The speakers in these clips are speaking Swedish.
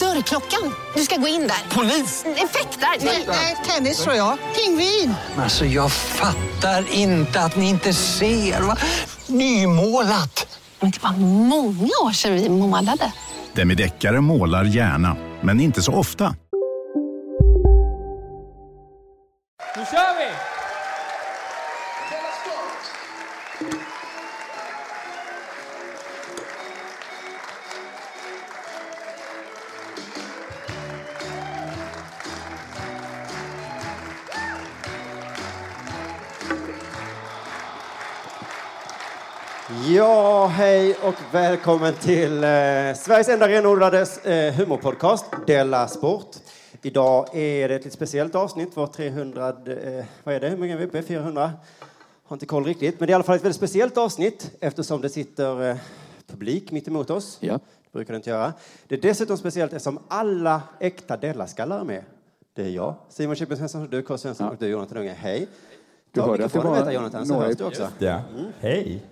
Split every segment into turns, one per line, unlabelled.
Dörrklockan. Du ska gå in där. Polis? Effektar? Nej, tennis tror jag. Pingvin.
Alltså jag fattar inte att ni inte ser. Va? Nymålat!
Men det var många år sedan vi målade.
Demideckare målar gärna, men inte så ofta.
Nu kör vi!
Ja, hej och välkommen till eh, Sveriges enda renodlade eh, humorpodcast, Della Sport. Idag är det ett lite speciellt avsnitt, vår 300... Eh, vad är det? Hur många är vi uppe 400? Har inte koll riktigt, men det är i alla fall ett väldigt speciellt avsnitt eftersom det sitter eh, publik mitt emot oss.
Ja.
Det brukar det inte göra. Det är dessutom speciellt eftersom alla äkta Della-skallar är med. Det är jag, Simon Chippen Svensson, du, K. Svensson och du, Jonathan Unge. Hej!
Du
Ta
hörde att det
mikrofonen,
var
vänta, Jonathan, så
några-
hörs du också.
Just det. Hej!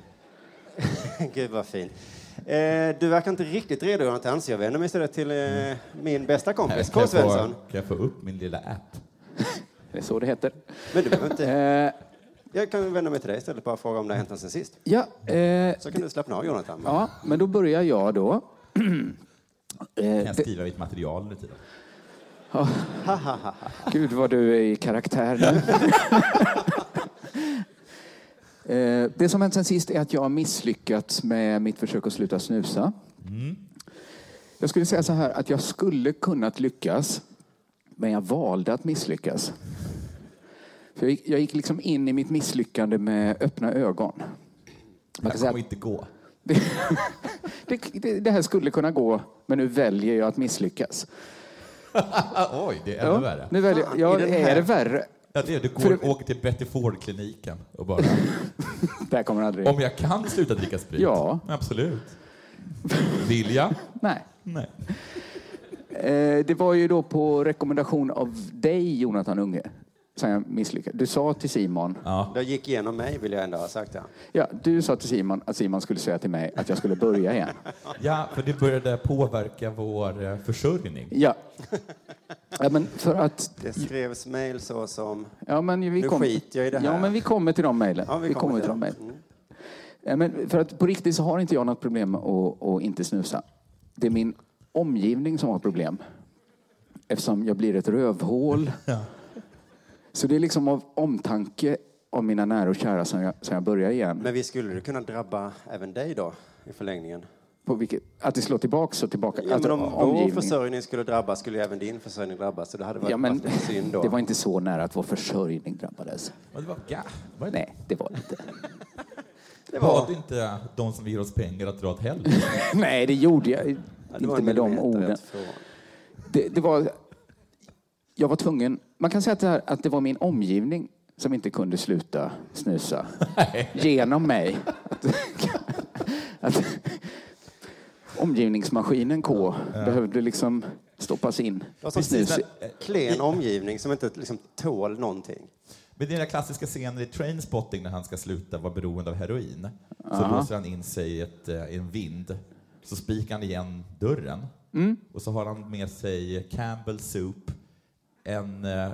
Gud vad fin. Eh, du verkar inte riktigt redo Jonathan, så jag vänder mig istället till eh, min bästa
Här,
kompis,
kan
K.
jag få-
Svensson.
Kan jag få upp min lilla app?
Det är så det heter.
Men du behöver inte... Jag kan vända mig till dig istället bara fråga om det har hänt något sen sist.
Ja, eh,
Så kan du slappna av Jonathan.
ja, men då börjar jag då. Eh,
Kan jag skriva mitt material under tiden?
Gud vad du är i karaktär nu. Eh, Det som hänt sen sist är att jag har misslyckats med mitt försök att sluta snusa.
Mm.
Jag skulle säga så här att jag skulle kunnat lyckas, men jag valde att misslyckas. För jag, gick, jag gick liksom in i mitt misslyckande med öppna ögon. Man kan
Jag
säga
kommer
att
inte gå.
det, det, det, det här skulle kunna gå, men nu väljer jag att misslyckas.
Ah, oj, det är ännu värre.
nu väljer,
Fan,
ja,
i den här-
är det värre?
Ja, det är, du går,
För-
åker till Betty Ford-kliniken och bara,
Det här kommer aldrig...
om jag kan sluta dricka sprit?
Ja.
Absolut. Vill jag?
Nej.
Nej.
Eh, det var ju då på rekommendation av dig, Jonathan Unge, som jag misslyckades. Du sa till Simon,
Det gick igenom mig vill jag ändå ha sagt. Ja.
ja, du sa till Simon att Simon skulle säga till mig att jag skulle börja igen.
Ja, för det började påverka vår eh, försörjning.
Ja. ja men för att...
Det skrevs mejl så som...
Ja, men vi
Nu
kom,
skiter jag i det här.
Ja, men vi kommer till de mejlen.
Ja,
vi, kommer till de
det. Mm.
mejlen. Ja, men för att på riktigt så har inte jag något problem med att, att inte snusa. Det är min omgivning som har problem. Eftersom jag blir ett rövhål. Så det är liksom av omtanke om mina nära och kära som jag, som jag börjar igen.
Men vi skulle det kunna drabba även dig då i förlängningen?
På vilket, att det slår tillbaka så tillbaka. alltså
Ja,
Att
men om vår
omgivningen-
försörjning skulle drabbas skulle ju även din försörjning drabbas. Så det hade varit
ja, men,
lite synd då.
det var inte så nära att vår försörjning drabbades.
Och det var, ja, var det
Nej, det var det inte.
Det var-
Bad inte de som ger oss pengar att dra åt helvete?
Nej, det gjorde jag
Ja, det
inte
var en
med de
millimeter
orden.
rätt från.
Det, det var, jag var tvungen. Man kan säga att det, här, att det var min omgivning som inte kunde sluta snusa. Genom mig. Att, att, omgivningsmaskinen K behövde liksom stoppas in
Det var
i
som
snus.
precis en klen omgivning som inte liksom tål någonting.
Men det är den där klassiska scenen i Trainspotting när han ska sluta vara beroende av heroin. Så blåser han in sig i, ett, eh, i en vind, så spikar han igen dörren
Mm.
och så har han med sig Campbell soup, en, eh,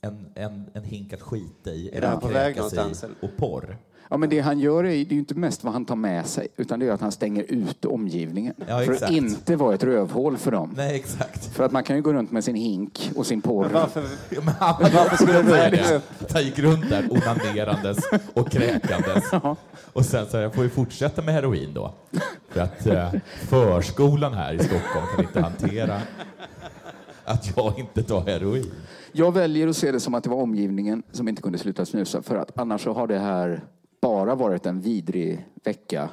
en, en, en hink att skita i,
det här
en
på
att
väg
kräkas i
någonstans, eller?
och porr.
Ja, men det han gör är, det är ju inte mest vad han tar med sig utan det är att han stänger ut omgivningen.
Ja,
för att
exakt.
inte vara ett rövhål för dem.
Nej, exakt.
För att man kan ju gå runt med sin hink och sin porr.
Varför
Ja, Men han varför
skulle du
säga
välja
det? Han gick runt där onanerandes och kräkandes. Och sen så här, jag får ju fortsätta med heroin då. För att eh, förskolan här i Stockholm kan inte hantera att jag inte tar heroin.
Jag väljer att se det som att det var omgivningen som inte kunde sluta snusa. För att annars så har det här bara varit en vidrig vecka.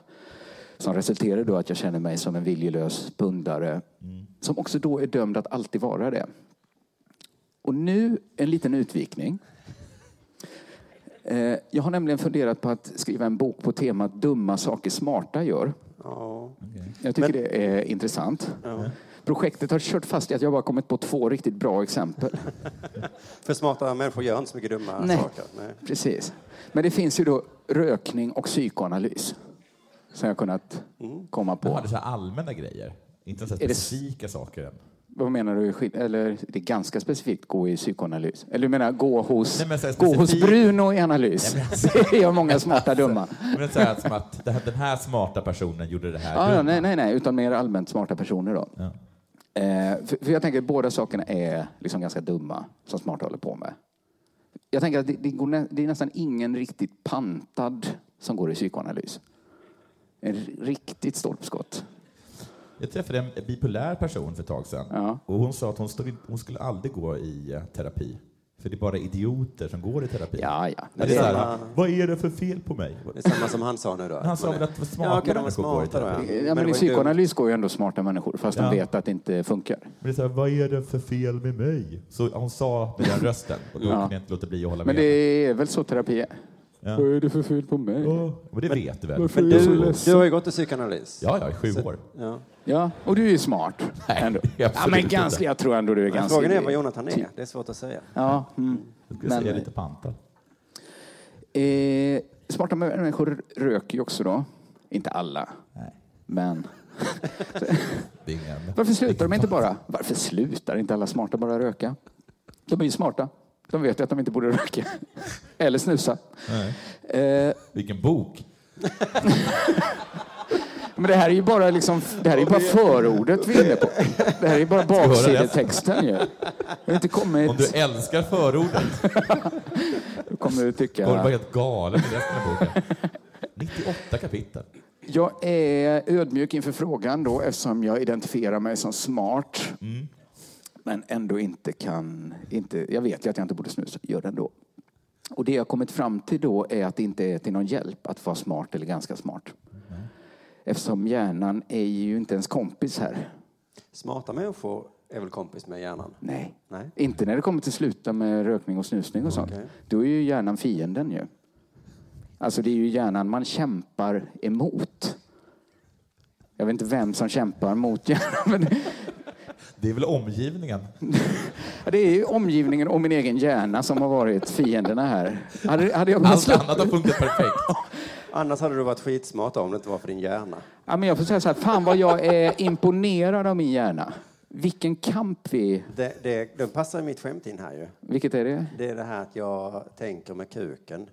Som resulterade då att jag känner mig som en viljelös pundare.
Mm,
Som också då är dömd att alltid vara det. Och nu en liten utvikning. Eh, Jag har nämligen funderat på att skriva en bok på temat dumma saker smarta gör. Jag tycker det är intressant. Projektet har kört fast i att jag bara kommit på två riktigt bra exempel.
För smarta människor gör inte så mycket dumma
Nej.
saker. Nej.
Precis. Men det finns ju då rökning och psykoanalys. Som jag kunnat
Mm.
komma
Jag
på.
hade så här allmänna grejer. Inte så här
Är det-
specifika saker än.
Vad menar du? Skill- Eller det är ganska specifikt gå i psykoanalys. Eller du menar gå hos,
Nej, men så här
gå hos
specifik-
Bruno i analys?
alltså-
Det gör många smarta dumma.
Men det är så här, som att det här- den här smarta personen gjorde det här.
Ah, Ja, ja,
dumma.
nej, nej, nej, utan mer allmänt smarta personer då. Eh, för, för jag tänker att båda sakerna är liksom ganska dumma som smarta håller på med. Jag tänker att det, det, går nä, det är nästan ingen riktigt pantad som går i psykoanalys. En r- riktigt stolpskott.
Jag träffade en bipolär person för ett tag sedan. Och hon sa att hon, stod, hon skulle aldrig gå i eh, terapi. För det är bara idioter som går i terapi.
Ja, ja.
Det är så här, vad är det för fel på mig?
Det är samma som han sa nu då.
Han sa väl att smarta
ja, okej, de var
människor går i
smarta då,
terapi.
ja.
Ja, men I
det var ju dumt.
psykoanalys går ju ändå smarta människor fast
Ja.
de vet att det inte funkar.
Men det är så här, vad är det för fel med mig? Så hon sa med den rösten. Och då
Ja.
kunde jag inte låta bli att hålla
Men
med.
det är väl så terapi är?
Ja.
Vad är det för fel på mig?
Ja, men det vet du väl?
Varför
Men
är jag så
du,
ledsen?
du har ju gått i psykoanalys.
Ja, ja, i sju
Alltså-
år.
Ja.
Ja, och du är ju smart. ändå. Ja,
absolut
men
inte.
ganska, jag tror ändå du är
Men
ganska...
frågan är vad Jonathan är. Det är svårt att säga.
Ja, mm.
Jag skulle säga
Men-
lite pantad.
Eh, smarta människor röker ju också då. Inte alla. Men
Det är ingen...
varför slutar de inte bara? Varför slutar inte alla smarta bara röka? De är ju smarta. De vet ju att de inte borde röka. Eller snusa.
Nej.
Eh,
Vilken bok!
men det här är ju bara, liksom, det här är ju bara förordet vi är inne på. Det här är ju bara
höra resten.
baksidetexten ju. Det har inte
Om du
kommit...
älskar förordet
Du kommer du tycka...
kommer du vara helt galen i resten av boken. 98 kapitel.
Jag är ödmjuk inför frågan då eftersom jag identifierar mig som smart.
Mm.
Men ändå inte kan... Inte, jag vet ju att jag inte borde snusa. Gör det ändå. Och det jag kommit fram till då är att det inte är till någon hjälp att vara smart eller ganska smart.
Mm.
Eftersom hjärnan är ju inte ens kompis här.
Smarta människor är väl kompis med hjärnan?
Nej.
Nej.
Inte när det kommer till sluta med rökning och snusning och sånt.
Okej.
Då är ju hjärnan fienden ju. Alltså det är ju hjärnan man kämpar emot. Jag vet inte vem som kämpar mot hjärnan. Men
Det är väl omgivningen?
det är ju omgivningen och min egen hjärna som har varit fienderna här. Hade, hade jag bara
Allt
släppt-
annat har funkat perfekt.
Annars hade du varit skitsmart om det inte var för din hjärna.
Ja, men jag får säga så här, fan vad jag är imponerad av min hjärna. Vilken kamp vi...
Det, det, den passar ju mitt skämt in här ju.
Vilket är det?
Det är det här att jag tänker med kuken.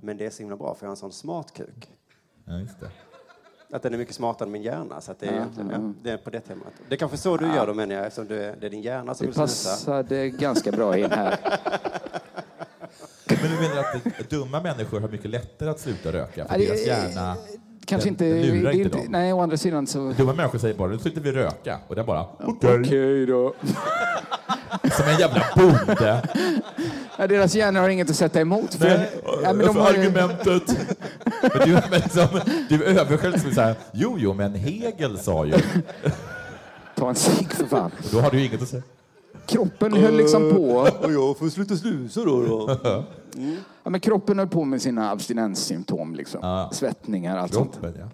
Men det är så himla bra för jag har en sån smart kuk.
Ja, just det.
Att den är mycket smartare än min hjärna. Så att det, är egentligen, ja,
Mm.
det är på det temat. Det är kanske så du gör då menar jag eftersom du är, det är din hjärna som
Det
vill snusa.
passade ganska bra in här.
Men du menar att dumma människor har mycket lättare att sluta röka? För
Ja, det-
deras hjärna...
Kanske
den,
inte...
Den lurar
det är
inte dem.
Nej, å andra sidan så...
Dumma människor säger bara nu slutar vi röka. Och den bara okej.
Okej då.
Som en jävla bonde.
Ja, deras hjärnor har inget att sätta emot. För,
Nej,
ja, men
för
de har ju,
argumentet. Men du, men liksom, du översköljs med så här, jo, jo, men Hegel sa ju.
ta en cigg för fan.
Och då har du ju inget att säga.
Kroppen höll liksom på.
Och jag får sluta snusa då. då.
Ja, men kroppen höll på med sina abstinenssymptom. Liksom. Svettningar, allt sånt.
Kroppen, ja.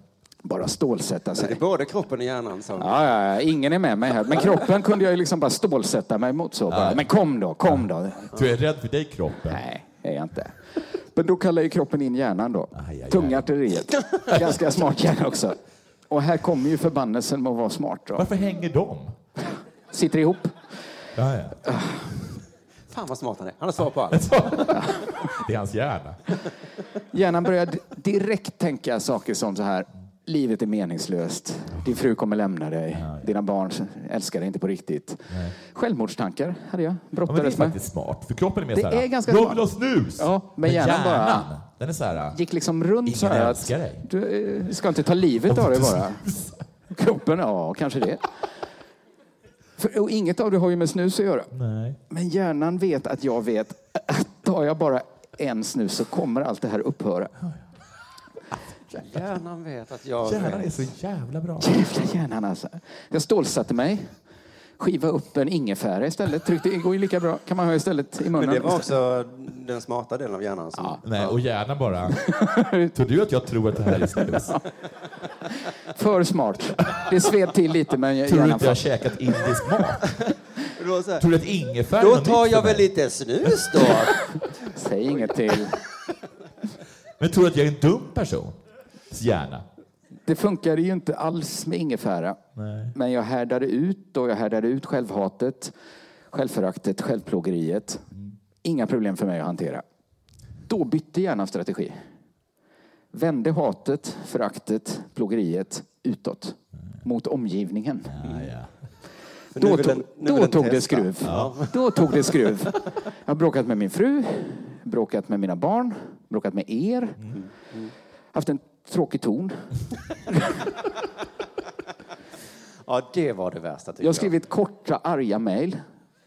Bara stålsätta sig.
Både kroppen och hjärnan som...
Ja, ja, ja, ingen är med mig här. Men kroppen kunde jag ju liksom bara stålsätta mig mot. Så. Bara, men kom då, kom då.
Så jag är rädd för dig, kroppen.
Nej, det är jag inte. Men då kallar ju kroppen in hjärnan då.
Aj, aj, aj.
Tunga artilleriet. Ganska smart hjärna också. Och här kommer ju förbannelsen med att vara smart. Då.
Varför hänger de?
Sitter ihop.
Ja, ja.
Fan vad smart han är. Han har svar på allt.
Det är hans hjärna.
Hjärnan börjar di- direkt tänka saker som så här. Livet är meningslöst. Din fru kommer lämna dig. Dina barn älskar dig inte på riktigt. Självmordstankar hade jag.
Ja, men det är
Brottades med.
faktiskt smart. För kroppen är mer
Det
så här,
är ganska
jag
smart."
vill ha snus!
Ja, men hjärnan bara-
Den är så här,
Gick liksom runt
Ingen
så här.
älskar dig.
Du eh, ska inte ta livet av dig bara. Kroppen, ja kanske det. För, och inget av det har ju med snus att göra.
Nej.
Men hjärnan vet att jag vet att tar jag bara en snus så kommer allt det här upphöra.
Hjärnan vet att jag...
Hjärnan är
vet.
så jävla bra.
Jävla hjärnan alltså. Jag stålsatte mig. Skiva upp en ingefära istället. Tryckte, det går ju lika bra. Kan man ha istället i munnen.
Men det var också den smarta delen av hjärnan. Som...
Nej, och gärna bara... Tror du att jag tror att det här är snus?
För smart. Det sved till lite men
Tror du
hjärnan
inte jag
fattade.
har käkat indisk mat?
Det var så här,
Tror du att ingefära
Då
är något
tar
nytt
jag
för mig?
väl lite snus då.
Säg inget till.
Men tror du att jag är en dum person? Gärna.
Det funkade ju inte alls med ingefära. Men jag härdade ut och jag härdade ut självhatet, självföraktet, självplågeriet.
Mm.
Inga problem för mig att hantera. Då bytte hjärnan strategi. Vände hatet, föraktet, plågeriet utåt.
Mm.
Mot omgivningen. Mm.
För nu
Då,
vill
tog-
den- nu vill
då
den
tog det
testa.
skruv. Då tog det skruv. Jag har bråkat med min fru, bråkat med mina barn, bråkat med er.
Mm.
Haft en tråkig ton.
Ja, det var det värsta tycker
Jag har skrivit korta, arga mejl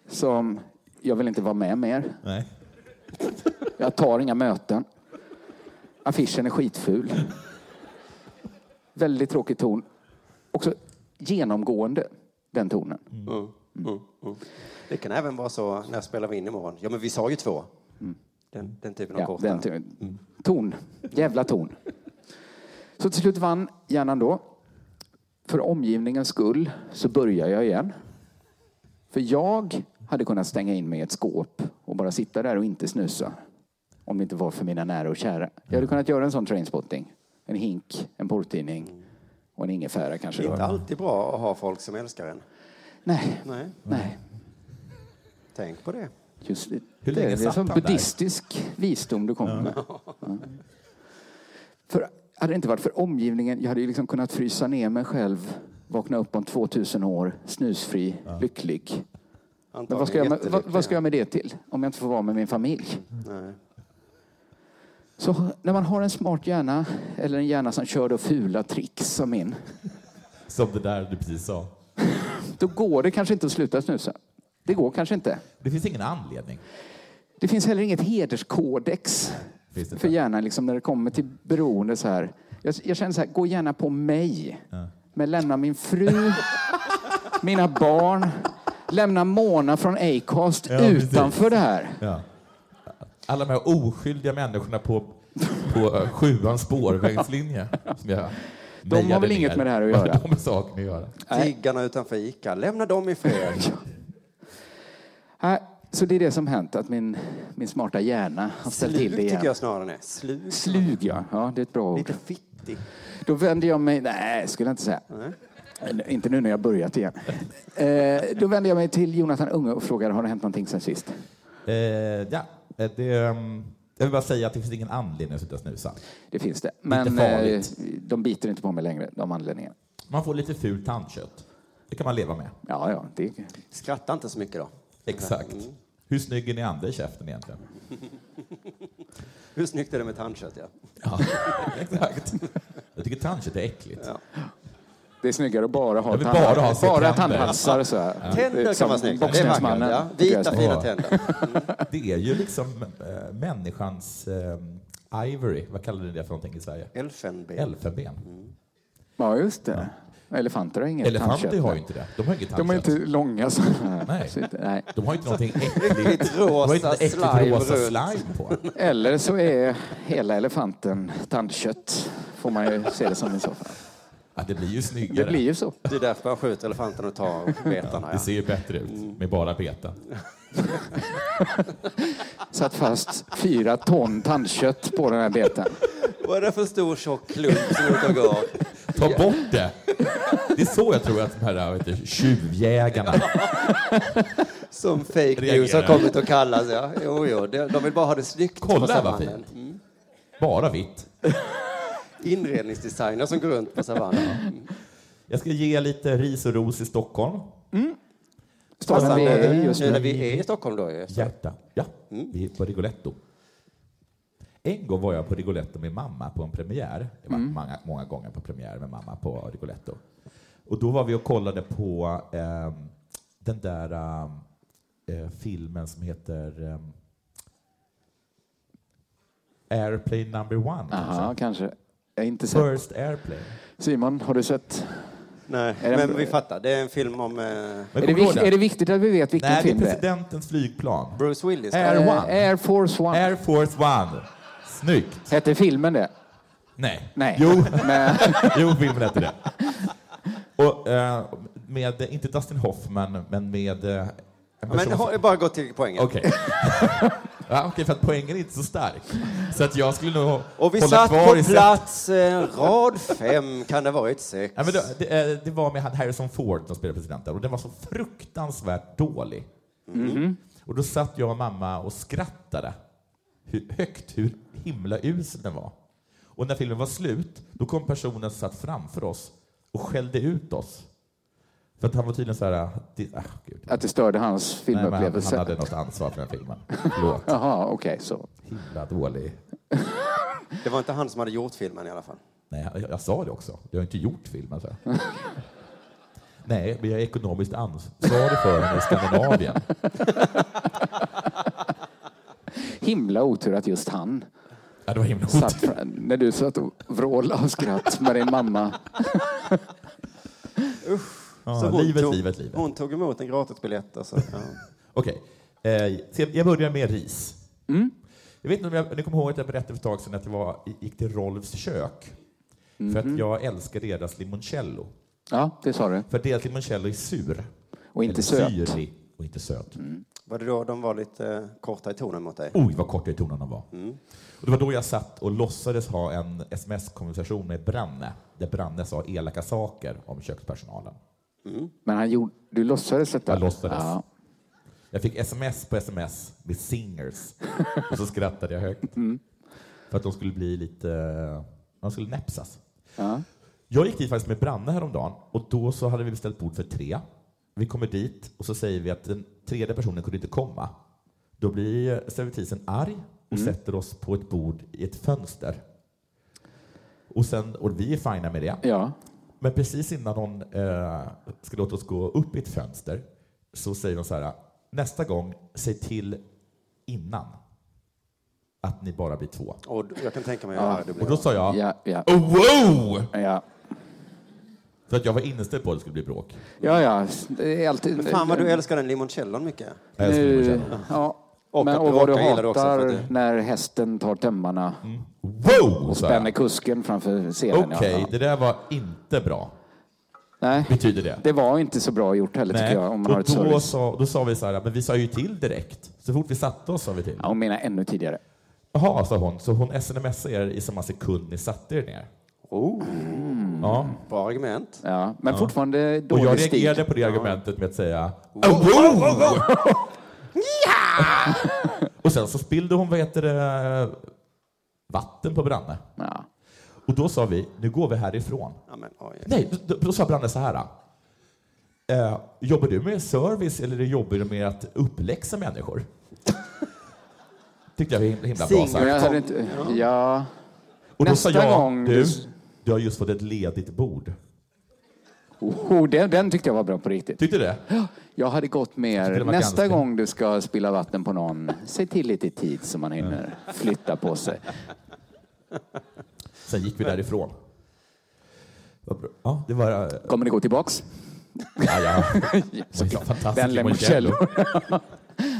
som jag vill inte vara med mer.
Nej.
Jag tar inga möten. Affischen är skitful. Väldigt tråkig ton. Också genomgående, den tonen.
Mm, mm, mm. Det kan även vara så när spelar vi in imorgon. Ja, men vi sa ju två. Den, den typen av Mm.
Mm.
korta.
Ja, den ty- ton. Jävla ton. Så till slut vann hjärnan då. För omgivningens skull så börjar jag igen. För jag hade kunnat stänga in mig i ett skåp och bara sitta där och inte snusa. Om det inte var för mina nära och kära. Jag hade kunnat göra en sån trainspotting. En hink, en porrtidning och en ingefära kanske.
Det är
Då.
inte alltid bra att ha folk som älskar en.
Nej,
Nej,
nej.
tänk på det.
Just det.
Hur
det
länge
är
satt
som
han där?
buddhistisk visdom du kommer med. Ja. För, hade det inte varit för omgivningen, jag hade ju liksom kunnat frysa ner mig själv, vakna upp om 2000 år, snusfri, lycklig. Men
Antagligen
vad ska, jag med, vad,
jättelyckliga.
vad ska jag med det till? Om jag inte får vara med min familj?
Nej.
Så när man har en smart hjärna, eller en hjärna som kör då fula tricks som min,
Som det där du precis sa.
då går det kanske inte att sluta snusa. Det går kanske inte.
Det finns ingen anledning.
Det finns heller inget hederskodex
Finns det
för
inte?
hjärnan liksom, när det kommer till beroende. Så här. Jag, jag känner så här, gå gärna på mig. Men lämna min fru, mina barn, lämna Mona från Acast
Ja, precis.
utanför det här.
Ja. Alla de här oskyldiga människorna på, på eh, sjuans spårvägslinje. Som jag
har
mejade
väl inget
ner.
med det här att
Vad
göra?
har de med saken att göra?
Tiggarna utanför Ica, lämna dem i fred.
Nej, Så det är det som hänt, att min, min smarta hjärna har ställt till det
Slug
igen.
tycker jag snarare den är. Slug.
Slug, ja. ja. Det är ett bra ord.
Lite fittig.
Då vände jag mig... Nej, skulle jag inte säga. Eh, Inte nu när jag börjat igen. Eh, då vände jag mig till Jonathan Unge och frågade har det hänt någonting sen sist.
Eh, ja, eh, det, ehm, jag vill bara säga att det finns ingen anledning att sluta snusa.
Det finns det. Men eh,
farligt.
de biter inte på mig längre, de anledningarna.
Man får lite fult tandkött. Det kan man leva med.
Ja, ja, det,
Skratta inte så mycket då. Mm.
Exakt. Hur snygg är ni andra i käften egentligen?
Hur snyggt är det med tandkött? Ja.
Ja, exakt. Jag tycker tandkött är äckligt.
det är snyggare att bara ha
Jag vill bara ha sig
bara
tänder.
tandhalsar så här. Det är
Tänder
som
kan vara snyggt. Det är
Boxningsmannen.
vackert. Ja.
tycker jag är
Vita
snyggt.
fina tänder.
Det är ju liksom eh, människans eh, ivory. Vad kallar ni det för någonting i Sverige?
Elfenben. Mm.
Elfenben.
Ja, just det. Elefanter har inget
Elefanter
tandkött.
har ju inte det. De har inget
De är
tandkött.
inte långa så här.
Nej.
Så inte- Nej.
De har ju inte någonting äckligt.
rosa
de har ju inte äckligt
slime
rosa
runt.
slime på.
Eller så är hela elefanten tandkött. Får man ju se det som i så fall.
Ja, det blir ju snyggare.
Det blir ju så.
Det är därför man skjuter elefanten och tar betarna.
Det
Ja.
ser ju bättre ut med bara beten.
Satt fast fyra ton tandkött på den här beten.
Vad är det för stor tjock klump som är ute och går?
Ta bort det! Det är så jag tror att de här vet du, tjuvjägarna...
Som fake news har
Reagerar.
kommit att kallas. Ja. Jo, jo, de de vill bara ha det snyggt
Kolla,
på
vad
savannen.
fint.
Mm.
Bara vitt.
Inredningsdesigner som går runt på savannen.
Jag ska ge lite ris och ros i Stockholm.
Mm. Staden vi är i just
nu när
nu.
vi är i Stockholm då ju.
Hjärta. Ja, vi är på Rigoletto. En gång var jag på Rigoletto med mamma på en premiär. Jag var många, många gånger på premiär med mamma på Rigoletto. Och då var vi och kollade på ehm,
den där ehm, eh, filmen som heter ehm, Airplane number one.
Aha, kanske. Jag har inte sett.
First Airplane.
Simon, har du sett?
Nej,
Är det-
men vi fattar. Det är en film om... Eh,
Är det, vikt, är det viktigt att vi vet vilken
Nej, det
film
är
det är?
presidentens flygplan.
Bruce Willis?
Air
Eh,
One.
Air Force One.
Air Force One. Snyggt.
Hette filmen det?
Nej.
Nej.
Jo,
Men,
jo filmen hette det. Och, eh, med, inte Dustin Hoffman, men med... eh, en person
Men
som-
har- bara gå till poängen.
Okej. ja, okej, för att poängen är inte så stark. Så att jag skulle nog
Och vi
hålla
satt
kvar i
på
set-
plats eh, rad fem, kan det varit sex?
Ja, men då, det, eh, det var med Harrison Ford som spelade presidenten och den var så fruktansvärt dålig. Och då satt jag och mamma och skrattade hur högt hur himla usel den var. Och när filmen var slut, då kom personen som satt framför oss och skällde ut oss. För att han var tydligen så här... Det, ah, gud.
att det störde hans
Nej, men han, han
filmupplevelse.
hade något ansvar för den filmen. Låt.
Jaha, okej. så.
Himla dålig.
Det var inte han som hade gjort filmen i alla fall.
Nej, jag, jag sa det också. Jag har inte gjort filmen. Så. Nej, men jag är ekonomiskt ansvarig för den i Skandinavien.
Himla otur att just han
Ja, det var himla
satt
otur.
fra- när du satt och vrålade av skratt med din mamma.
Ja,
Så hon
livet,
tog,
livet, livet.
Hon tog emot en gratisbiljett. Alltså. Ja.
Okej, eh, så jag- jag börjar med ris.
Mm.
Jag vet inte om jag, ni kommer ihåg att jag berättade för ett tag sedan att jag var, gick till Rolfs kök. För att jag älskar deras limoncello.
Mhm. Ja, det sa du.
För deras limoncello är sur.
Och inte
Eller
söt.
Syrlig och inte söt.
Var det då de var lite eh, korta i tonen mot dig?
Oj, vad korta i tonen de var. Och det var då jag satt och låtsades ha en sms-konversation med Branne, där Branne sa elaka saker om kökspersonalen.
Men han gjorde, du låtsades detta?
Jag låtsades.
Ja.
Jag fick sms på sms med singers och så skrattade jag högt. För att de skulle bli lite... De skulle näpsas.
Ja.
Jag gick dit faktiskt med Branne häromdagen och då så hade vi beställt bord för tre. Vi kommer dit och så säger vi att den tredje personen kunde inte komma. Då blir servitrisen arg och
Mm.
sätter oss på ett bord i ett fönster. Och, sen, och vi är fina med det.
ja.
Men precis innan hon eh, ska låta oss gå upp i ett fönster så säger hon så här, nästa gång, säg till innan att ni bara blir två.
Och d- jag kan tänka mig hur arg du
Och
blev.
då sa jag,
Ja, ja,
oh, wow!
ja.
För att jag var inställd på att det skulle bli bråk.
Ja, ja. Det är alltid...
Fan vad du älskar den limoncellon mycket.
Jag skulle
nu,
nog känna,
ja.
Och
Men,
att
och
du
vad du
råkar gilla det också, för
hatar
att det-
när hästen tar tömmarna
Mm. Wow!
och
sa jag.
spänner kusken framför scenen. ja.
Okej,
Ja.
det där var inte bra,
Nej,
betyder det.
det var inte så bra gjort heller tycker jag om man har
och
ett
då,
service.
sa, då sa vi så här, men vi sa ju till direkt. Så fort vi satte oss sa vi till.
Ja, hon menar ännu tidigare.
Jaha, sa hon, så hon smsade er i samma sekund ni satte er ner.
Oh,
Ja,
bra argument.
Mm. Ja, men fortfarande
Och jag
dålig
reagerade
stil.
på det argumentet med att säga "Oh, wow!" Och sen så spillde hon, vad heter det, vatten på Branne.
Ja.
Och då sa vi, nu går vi härifrån.
Ja, men, oj.
Nej, då, då sa Branne så här. Eh, jobbar du med service eller jobbar du med att uppläxa människor? Tyckte jag var himla, himla bra
Men
Singel.
sagt.
jag hade inte... Ja.
Och då sa
Nästa
jag,
gång
du,
du-
du har just fått ett ledigt bord.
Oh, den, den tyckte jag var bra på riktigt.
Tyckte du det?
Jag hade gått
det
mer.
var
Nästa
ganska-
gång du ska spilla vatten på någon, säg till lite i tid så man hinner flytta på sig.
Sen gick vi därifrån. Vad bra. Ja, det var... eh,
Kommer ni gå tillbaks?
Ja, ja. Såklart. Fantastisk
Den limoncello.
Em,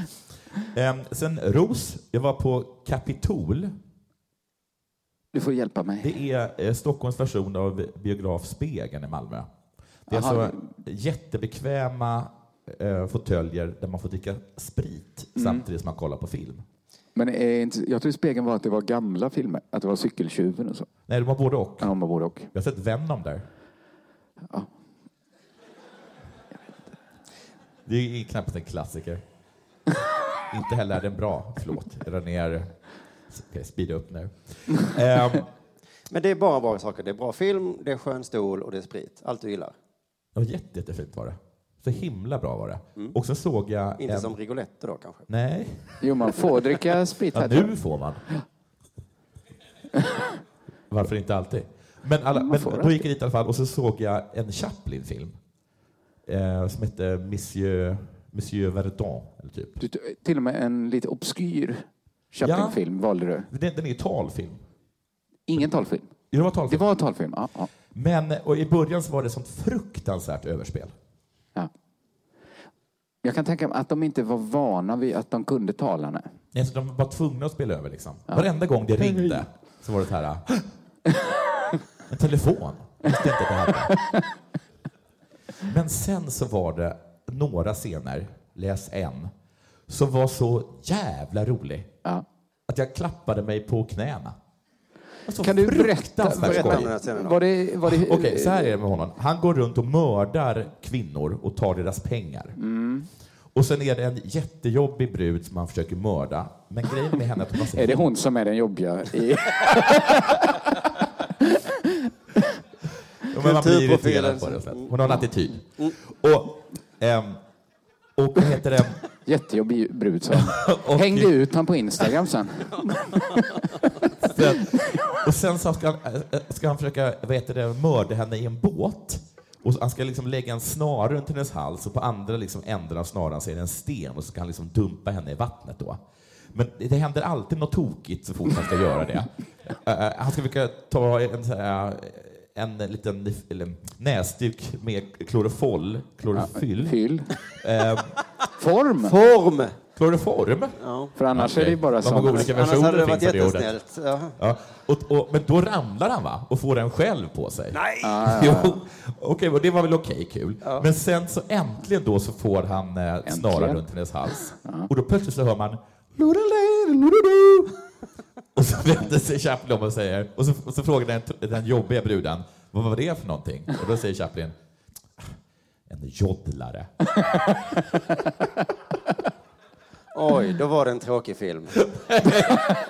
Ehm, Sen Ros, jag var på Capitol.
Du får hjälpa mig.
Det är eh, Stockholms version av biograf Spegeln i Malmö. Det är
Aha.
alltså jättebekväma eh, fåtöljer där man får dricka sprit samtidigt som man kollar på film.
Men
eh,
är inte, jag tror spegeln var att det var gamla filmer, att det var cykeltjuven och så.
Nej, det var både och.
Ja, man borde och.
Jag har sett Venom där. Det är knappast en klassiker. Inte heller är den bra. Förlåt, jag drar ner. Okej, speeda upp nu. Ehm,
Men det är bara bra saker. Det är bra film, det är skön stol och det är sprit. Allt du gillar.
ja, jätte, jättefint var det. Så himla bra var det. Och sen såg jag...
Inte
en-
som Rigoletto då kanske.
Nej,
Jo, man får dricka sprit
ja,
här. tror jag.
nu får man. Varför inte alltid? Men, alla,
Man
men
får
då gick jag dit i alla fall och så såg jag en Chaplin-film. eh, som hette Monsieur, Monsieur Verdun. Eller typ.
Du, du- till och med en lite obskyr Chaplin-film valde du.
Den, den är ju talfilm.
Ingen talfilm.
Det var talfilm.
Det var talfilm, ja. ja.
Men och i början så var det sånt fruktansvärt överspel.
Jag kan tänka mig att de inte var vana vid att de kunde tala. Nej.
Nej, så de var tvungna att spela över. Liksom. Varenda gång det ringde så var det så här... "Hå! En telefon. Jag Visste inte att det hade. Men sen så var det några scener, läs en, som var så jävla rolig att jag klappade mig på knäna. Alltså,
Kan du berätta?
fruktansvärt skoj.
Var det, var det,
Okej, så här är det med honom. Han går runt och mördar kvinnor och tar deras pengar. Och sen är det en jättejobbig brud som han försöker mörda. Men grejen med henne är att hon har så
Är det hon som är den jobbiga? I...
Ja, men man
Typ
blir
Kulturprofilen
irriterad på
som-
det. så att Hon har en attityd.
Mm.
Och, ehm, och vad heter det?
Jättejobbig brud, sa han. Hängde ut han på Instagram sen.
Och sen så ska han, eh, ska han försöka vad heter det, mörda henne i en båt. Och han ska liksom lägga en snara runt hennes hals och på andra liksom änden av snaran så är det en sten och så ska han liksom dumpa henne i vattnet då. Men det händer alltid något tokigt så fort han ska göra det. Eh, eh, han ska försöka ta en, så här, eh, en liten eller, näsduk med klorofoll, klorofyll.
Fyll.
Ehm,
Form.
Form!
Kloroform?
För annars är det ju bara
De har
sånt.
olika
Annars hade det
versioner
varit
finns av det ordet.
jättesnällt. Ja.
Ja. Och, och, men då ramlar han va? Och får en själv på sig. Nej! jo, okej, och det var väl okej kul. Men sen så äntligen då så får han eh, snara runt hennes hals. Och då plötsligt så hör man "Lorelei, lorelei." Och så vänder sig Chaplin om och säger, och så, och så frågar den, den jobbiga bruden, vad var det för någonting? Och då säger Chaplin, en joddlare.
Oj, då var det en tråkig film.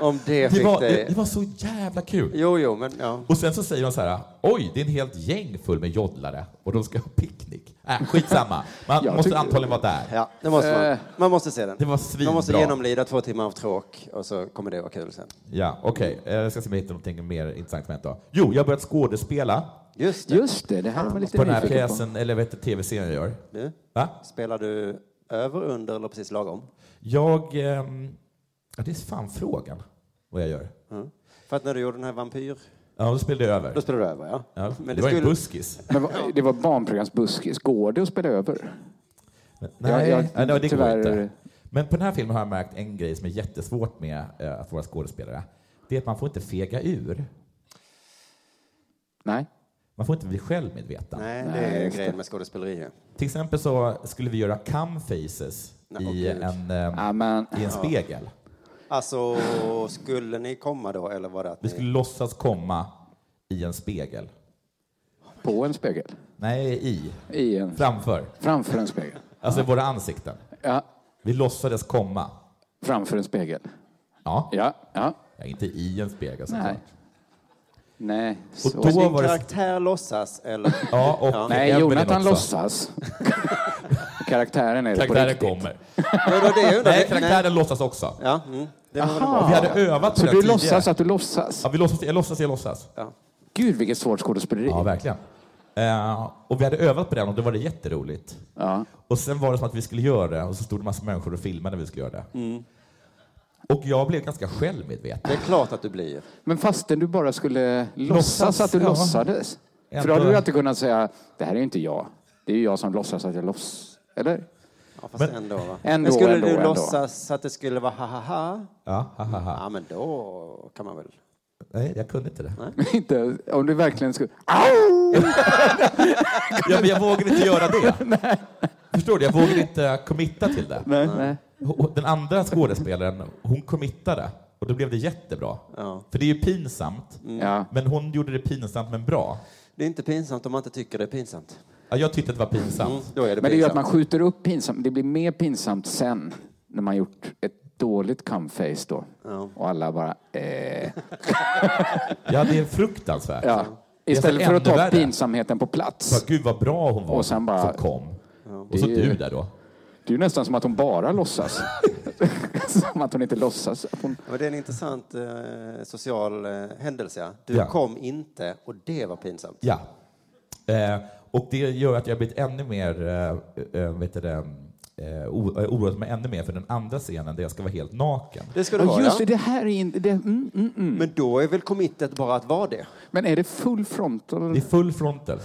Om det
Det
fick
var, det,
dig...
det var så jävla kul.
Jo, jo, men ja.
Och sen så säger de så här, oj, det är en helt gäng full med joddlare och de ska ha picknick. Äh, skitsamma, man
Jag
måste
tycker-
antagligen vara där.
Ja, det måste man.
Eh.
Man måste se den.
Det var svinbra.
man måste genomlida två timmar av tråk och så kommer det vara kul sen.
Ja, okej. Eh, Jag ska se om jag hittar någonting mer intressant med då. Jo, jag har börjat skådespela
Just det.
Just det, det här var lite
på den här
nyfiken på.
pjäsen, eller vad heter tv-serien jag gör.
Nu
Va?
spelar du över, under eller precis lagom?
Jag... ehm, Ja, det är fan frågan vad jag gör.
Mm. För att när du gjorde den här Vampyr,
Ja, då spelade jag
då
över.
spelade du över, ja.
Ja,
Men
det,
det
var en
skulle-
buskis.
Men vad- det var barnprogramsbuskis. Går det att spela över?
Nej,
jag-
nej, det
tyvärr-
går inte. Men på den här filmen har jag märkt en grej som är jättesvårt med eh, att vara skådespelare. Det är att man får inte fega ur.
Nej.
Man får inte bli självmedveten.
Nej, det är ju grejen med skådespeleri. ju.
Till exempel så skulle vi göra come faces
Nej,
i,
åh, gud. Ah.
en, eh,
Ja, men,
i en spegel.
Alltså, skulle ni komma då eller var det att
Vi
ni...
skulle låtsas komma i en spegel.
på en spegel.
Nej, i.
I en,
Framför.
framför en spegel.
Alltså våra ansikten.
Ja,
Vi låtsades komma.
framför en spegel.
Ja,
Ja, ja.
Ja, inte i en spegel alltså. såklart.
Nej. Nej,
Och då
så.
Din
var det...
karaktär låtsas eller?
Ja, och
Nej,
Evelyn
Jonathan
också.
låtsas. Karaktären är det på
Karaktären
riktigt.
kommer.
Vadå, det är under-
Nej, karaktären låtsas också.
Ja, mm. det var väl
Aha.
bra.
Vi hade övat på
Så
det
du
tidigare.
låtsas att du låtsas?
Ja, vi låtsas, jag låtsas, jag låtsas.
Gud, vilket svårt skådespeleri.
Ja, verkligen. Eh, och vi hade övat på den och då var det jätteroligt.
Ja.
Och sen var det som att vi skulle göra det och så stod det massa människor och filmade när vi skulle göra det.
Mm.
Och jag blev ganska självmedveten.
Det är klart att du blir.
Men fastän du bara skulle låtsas
Låtsas,
att du
ja.
låtsades. För då
Ändå-
hade du alltid kunnat säga, det här är ju inte jag. Det är ju jag som låtsas att jag låtsas. Eller?
Ja, fast ändå, va?
Ändå,
men skulle
ändå,
du
ändå.
låtsas att det skulle vara ha-ha-ha?
Ja, ha, ha, ha.
Mm.
Ja, men då kan man väl...
Nej, jag kunde inte det.
inte, om du verkligen skulle... Au!
Ja, men jag vågade inte göra det. Förstår du? Jag vågade inte committa till det.
Nej, nej.
Och Den andra skådespelaren, hon committade och då blev det jättebra. För det är ju pinsamt.
Ja.
Men hon gjorde det pinsamt men bra.
Det är inte pinsamt om man inte tycker det är pinsamt.
Ja, jag tyckte att det var pinsamt.
Då är det
Mm. Men det gör att man
pinsamt.
skjuter upp pinsamt. Det blir mer pinsamt sen när man gjort ett dåligt come-face då. Och alla bara... Eh.
Ja, det är fruktansvärt.
Ja.
Det är
Istället
så
för att ta
ännu värre.
pinsamheten på
Ja,
plats.
Gud vad bra hon var
Och sen bara-
som kom. Och så
Det är ju-
du där då.
Det är ju nästan som att hon bara låtsas. som att hon inte låtsas. Att hon...
Ja, men det är en intressant eh, social eh, händelse. ja. Du
Ja.
kom inte och det var pinsamt.
Ja. Eh, och det gör att jag blivit ännu mer, eh, eh, vet du det, eh, o- eh, oroat mig ännu mer för den andra scenen där jag ska vara helt naken.
Det ska du
Ja,
vara,
just det,
ja.
det här är inte... Det, mm, mm, mm.
Men då är väl committet bara att vara det?
Men är det full frontal?
Det är full frontal.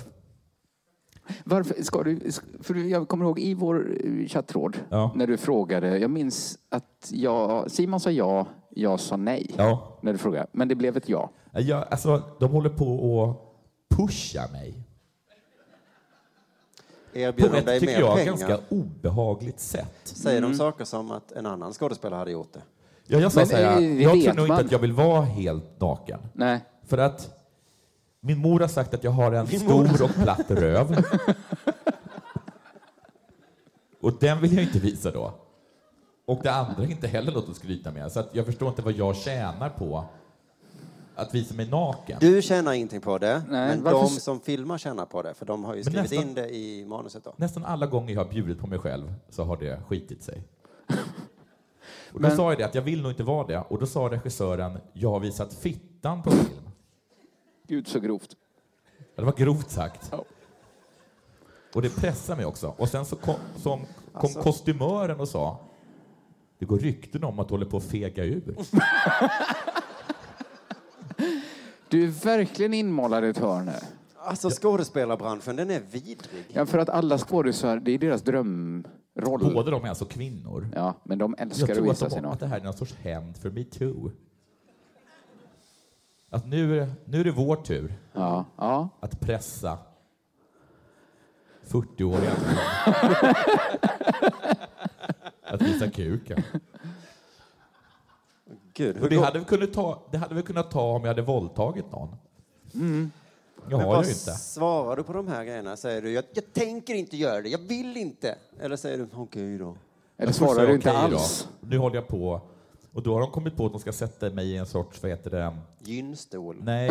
Varför ska du, för jag kommer ihåg i vår eh, chattråd
Ja.
när du frågade. Jag minns att jag, Simon sa ja, jag sa nej.
Ja.
När du frågade. Men det blev ett ja.
Jag, alltså, de håller på att pusha mig. På
Erbjuder
ett,
dig
tycker
mer
jag,
pengar?
ganska obehagligt sätt.
Säger
Mm.
de saker som att en annan skådespelare hade gjort det?
Ja, jag sa
Men,
så här,
eh, det
jag
vet
tror nog inte
man.
att jag vill vara helt naken.
Nej.
För att min mor har sagt att jag har en
mor.
stor och platt röv. och den vill jag inte visa då. Och det andra är inte heller något att skryta med. Så att jag förstår inte vad jag tjänar på att visa mig naken.
Du tjänar ingenting på det, men
varför
de
s-
som filmar tjänar på det, för de har ju
Men
skrivit
nästan-
in det i manuset. Då.
Nästan alla gånger jag har bjudit på mig själv så har det skitit sig. Och då
Men-
sa jag det att jag vill nog inte vara det. Och då sa regissören, jag har visat fittan på film.
Gud så grovt.
Ja, Det var grovt sagt.
Ja.
Och det pressade mig också. Och sen så kom, som, kom
Alltså.
kostymören och sa det går rykten om att du håller på att fega ur.
Du är verkligen inmålad i ett hörn här.
Alltså skådespelarbranschen, den är vidrig.
Ja, för att alla skådisar, det är deras drömroll.
Båda de är alltså kvinnor.
Ja, men de
Jag
älskar att
tror att,
visa sig
de, att det
naken.
här är någon sorts hämnd för metoo. Att nu, är- nu är det vår tur
Ja, ja.
att pressa 40-åriga att visa kuken.
Gud, hur
Och det,
går-
hade vi kunnat ta, det hade vi kunnat ta om jag hade våldtagit någon. Jag
Men
har
vad
ju inte.
svarar du på de här grejerna? Säger du jag, jag tänker inte göra det, jag vill inte? Eller säger du okej då?
Eller
Jag får säga
svarar du inte
okej då.
alls?
Nu håller jag på. Och då har de kommit på att de ska sätta mig i en sorts, vad heter det?
Gynstol.
Nej,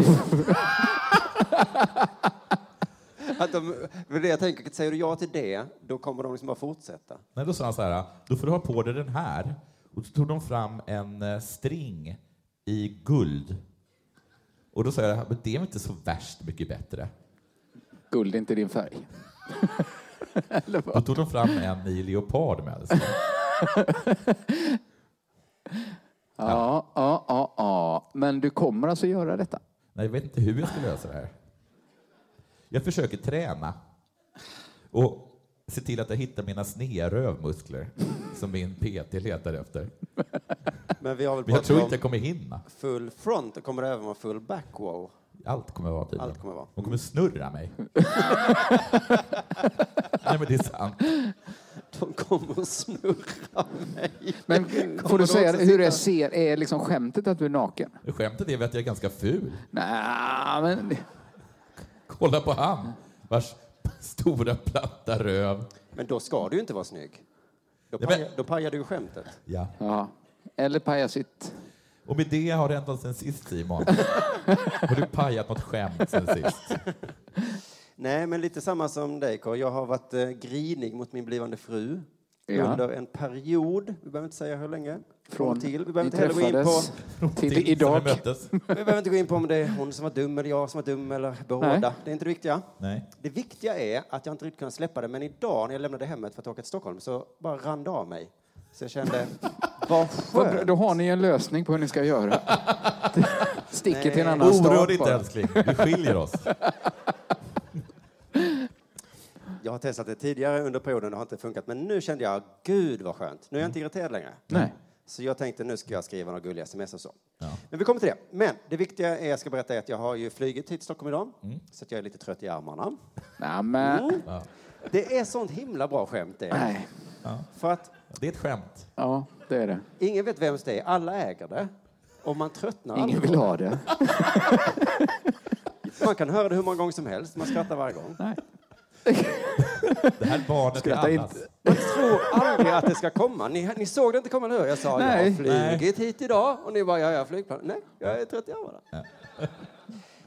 Att de, för det jag tänker, säger du ja till det, då kommer de liksom bara fortsätta.
nej då sa han så här, då får du ha på dig den här. Och så tog de fram en eh, string i guld. Och då sa jag, men det är väl inte så värst mycket bättre.
Guld är inte din färg.
Då tog de fram en i leopard med alltså. sig.
Ja, ja, ja, ja. Men du kommer alltså göra detta?
Nej, jag vet inte hur jag ska lösa det här. Jag försöker träna och se till att jag hittar mina sneda rövmuskler som min PT letar efter.
Men vi har väl
Men jag tror inte
pratat om
jag kommer hinna.
full front, och kommer det även vara full back wow?
Allt kommer vara tydligen.
Allt kommer vara.
De kommer snurra mig. Nej, men det är sant.
De kommer att snurra mig.
Men får
de
du säga
också
hur
sitta-
det ser? Är liksom skämtet att du är naken?
Skämtet är väl att jag är ganska ful.
Nej, men...
Kolla på han vars stora platta röv.
Men då ska du ju inte vara snygg. Då
Nej, men-
pajar, då pajar du ju skämtet.
Ja.
Ja. Eller pajasigt.
Och med det har det hänt något sen sist, Simon. Har du pajat något skämt sen sist?
Nej, men lite samma som dig, Carl. Jag har varit eh, grinig mot min blivande fru
Ja.
under en period. Vi behöver inte säga hur länge. Från
Från
till. Vi behöver
vi
inte heller gå in på
träffades till idag.
Sen vi möttes.
Vi behöver inte gå in på om det är hon som var dum eller jag som var dum eller båda.
Nej.
Det är inte det viktiga.
Nej.
Det viktiga är att jag inte riktigt kunde släppa det, men idag när jag lämnade hemmet för att åka till Stockholm så bara rann det av mig. Så jag kände, vad
Vad bra,
skönt.
Då har ni en lösning på hur ni ska göra. Sticker till en annan
Oroa
stad
dig inte
bara.
älskling, vi skiljer oss.
Jag har testat det tidigare under perioden och det har inte funkat, men nu kände jag, gud vad skönt. Nu är jag inte irriterad längre.
Mm. Nej.
Så jag tänkte nu ska jag skriva några gulliga sms och så. Men vi kommer till det. Men det viktiga är, jag ska berätta är att jag har ju flugit hit till Stockholm idag. Så att jag är lite trött i armarna. Mm.
Nej, men...
Det är sånt himla bra skämt det. är.
Nej.
För att
Det är ett skämt.
Ja, det är det.
ingen vet vems det är. Alla äger det. Och man tröttnar
Ingen
aldrig.
vill ha det.
Man kan höra det hur många gånger som helst. Man skrattar varje gång.
Det här barnet är
Skratta
allas.
inte.
Man tror aldrig att det ska komma. Ni, ni såg det inte komma, eller hur? Jag sa jag har
Nej.
flugit hit idag och ni bara ja, jag har flygplan. Nej, jag är 30 år bara.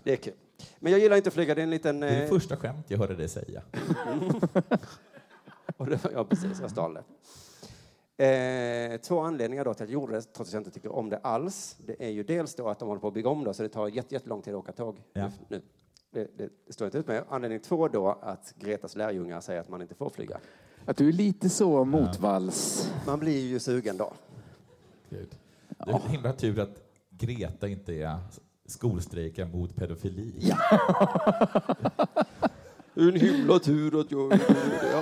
Det är kul. Men jag gillar inte att flyga. Det är en liten...
Det är det
Eh,
första skämt jag hörde dig säga.
och det var, ja, precis. Jag stal det. Eh, två anledningar då till att jag gjorde det, trots att jag inte tycker om det alls. Det är ju dels då att de håller på att bygga om det, så det tar jätte- jättelång tid att åka tåg
Ja.
nu.
det, det, det står jag inte ut med. Anledning två då, att Gretas lärjungar säger att man inte får flyga.
Att du är lite så motvalls.
Man blir ju sugen då.
Gud. Det är en himla tur att Greta inte är skolstrejkar mot pedofili.
En himla tur att jag... Ja,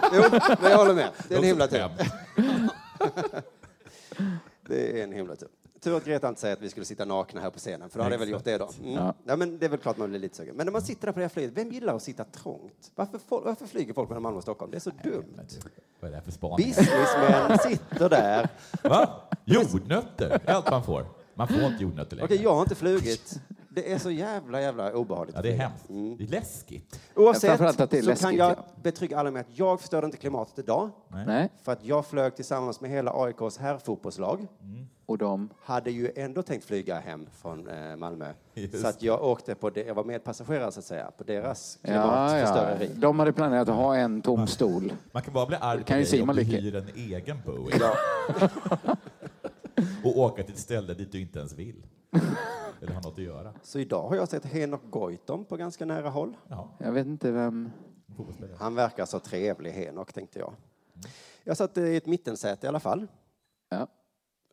jo, men jag håller med. Det är en himla tur. Det är en himla tur. Tur att Greta inte säger att vi skulle sitta nakna här på scenen, för då hade jag väl gjort det då. Mm.
Ja.
Ja. men det är väl klart man blir lite sugen. Men när man sitter där på det här flyget, vem gillar att sitta trångt? Varför, fol- varför flyger folk mellan Malmö och Stockholm? Det är så dumt.
Vad är det här för spaning?
Businessmän sitter där.
Va? Jordnötter är allt man får. Man får inte jordnötter längre.
Okej, jag har inte flugit. Det är så jävla, jävla obehagligt.
Ja, det är hemskt.
Mm.
Det är läskigt.
Oavsett
framförallt att det är
så
läskigt,
kan jag
ja.
betrygga alla med att jag förstörde inte klimatet idag.
Nej. Nej.
För att jag flög tillsammans med hela AIKs herrfotbollslag.
Mm. Och de?
Hade ju ändå tänkt flyga hem från eh, Malmö.
Just
Så att jag åkte på det, jag var medpassagerare så att säga, på deras
Ja, ja.
klimatförstöreri.
De hade planerat att ha en tom stol.
Man kan bara bli arg på
Kan ju
dig om
Simon
du
lycka.
hyr en egen Boeing. och åka till ett ställe dit du inte ens vill. Eller har något att göra.
Så idag har jag sett Henok Goitom på ganska nära håll.
Jag vet inte vem...
Han verkar så trevlig, Henok, tänkte jag. Jag satt i ett mittensäte i alla fall. Eh.
Ja.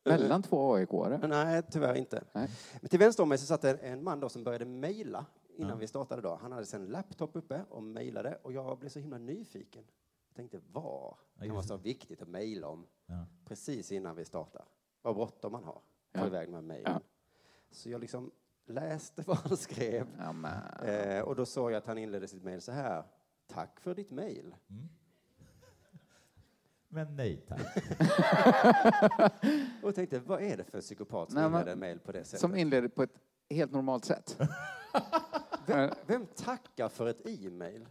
Mellan två aik
Nej, tyvärr inte. Men till vänster om mig så satt en- en man då som började mejla innan
Ja.
vi startade. Då. Han hade sin laptop uppe och mejlade och jag blev så himla nyfiken. Jag tänkte, vad kan
just
vara så viktigt att mejla om
Ja.
precis innan vi startar? Vad bråttom man har på
Ja.
iväg med mejlen. Så jag liksom läste vad han skrev eh, och då såg jag att han inledde sitt mejl så här. Tack för ditt mejl.
Men nej tack.
och jag tänkte, vad är det för psykopat som
Nej, men-
inleder mejl på det sättet?
Som inleder på ett helt normalt sätt.
Vem, vem tackar för ett e-mail?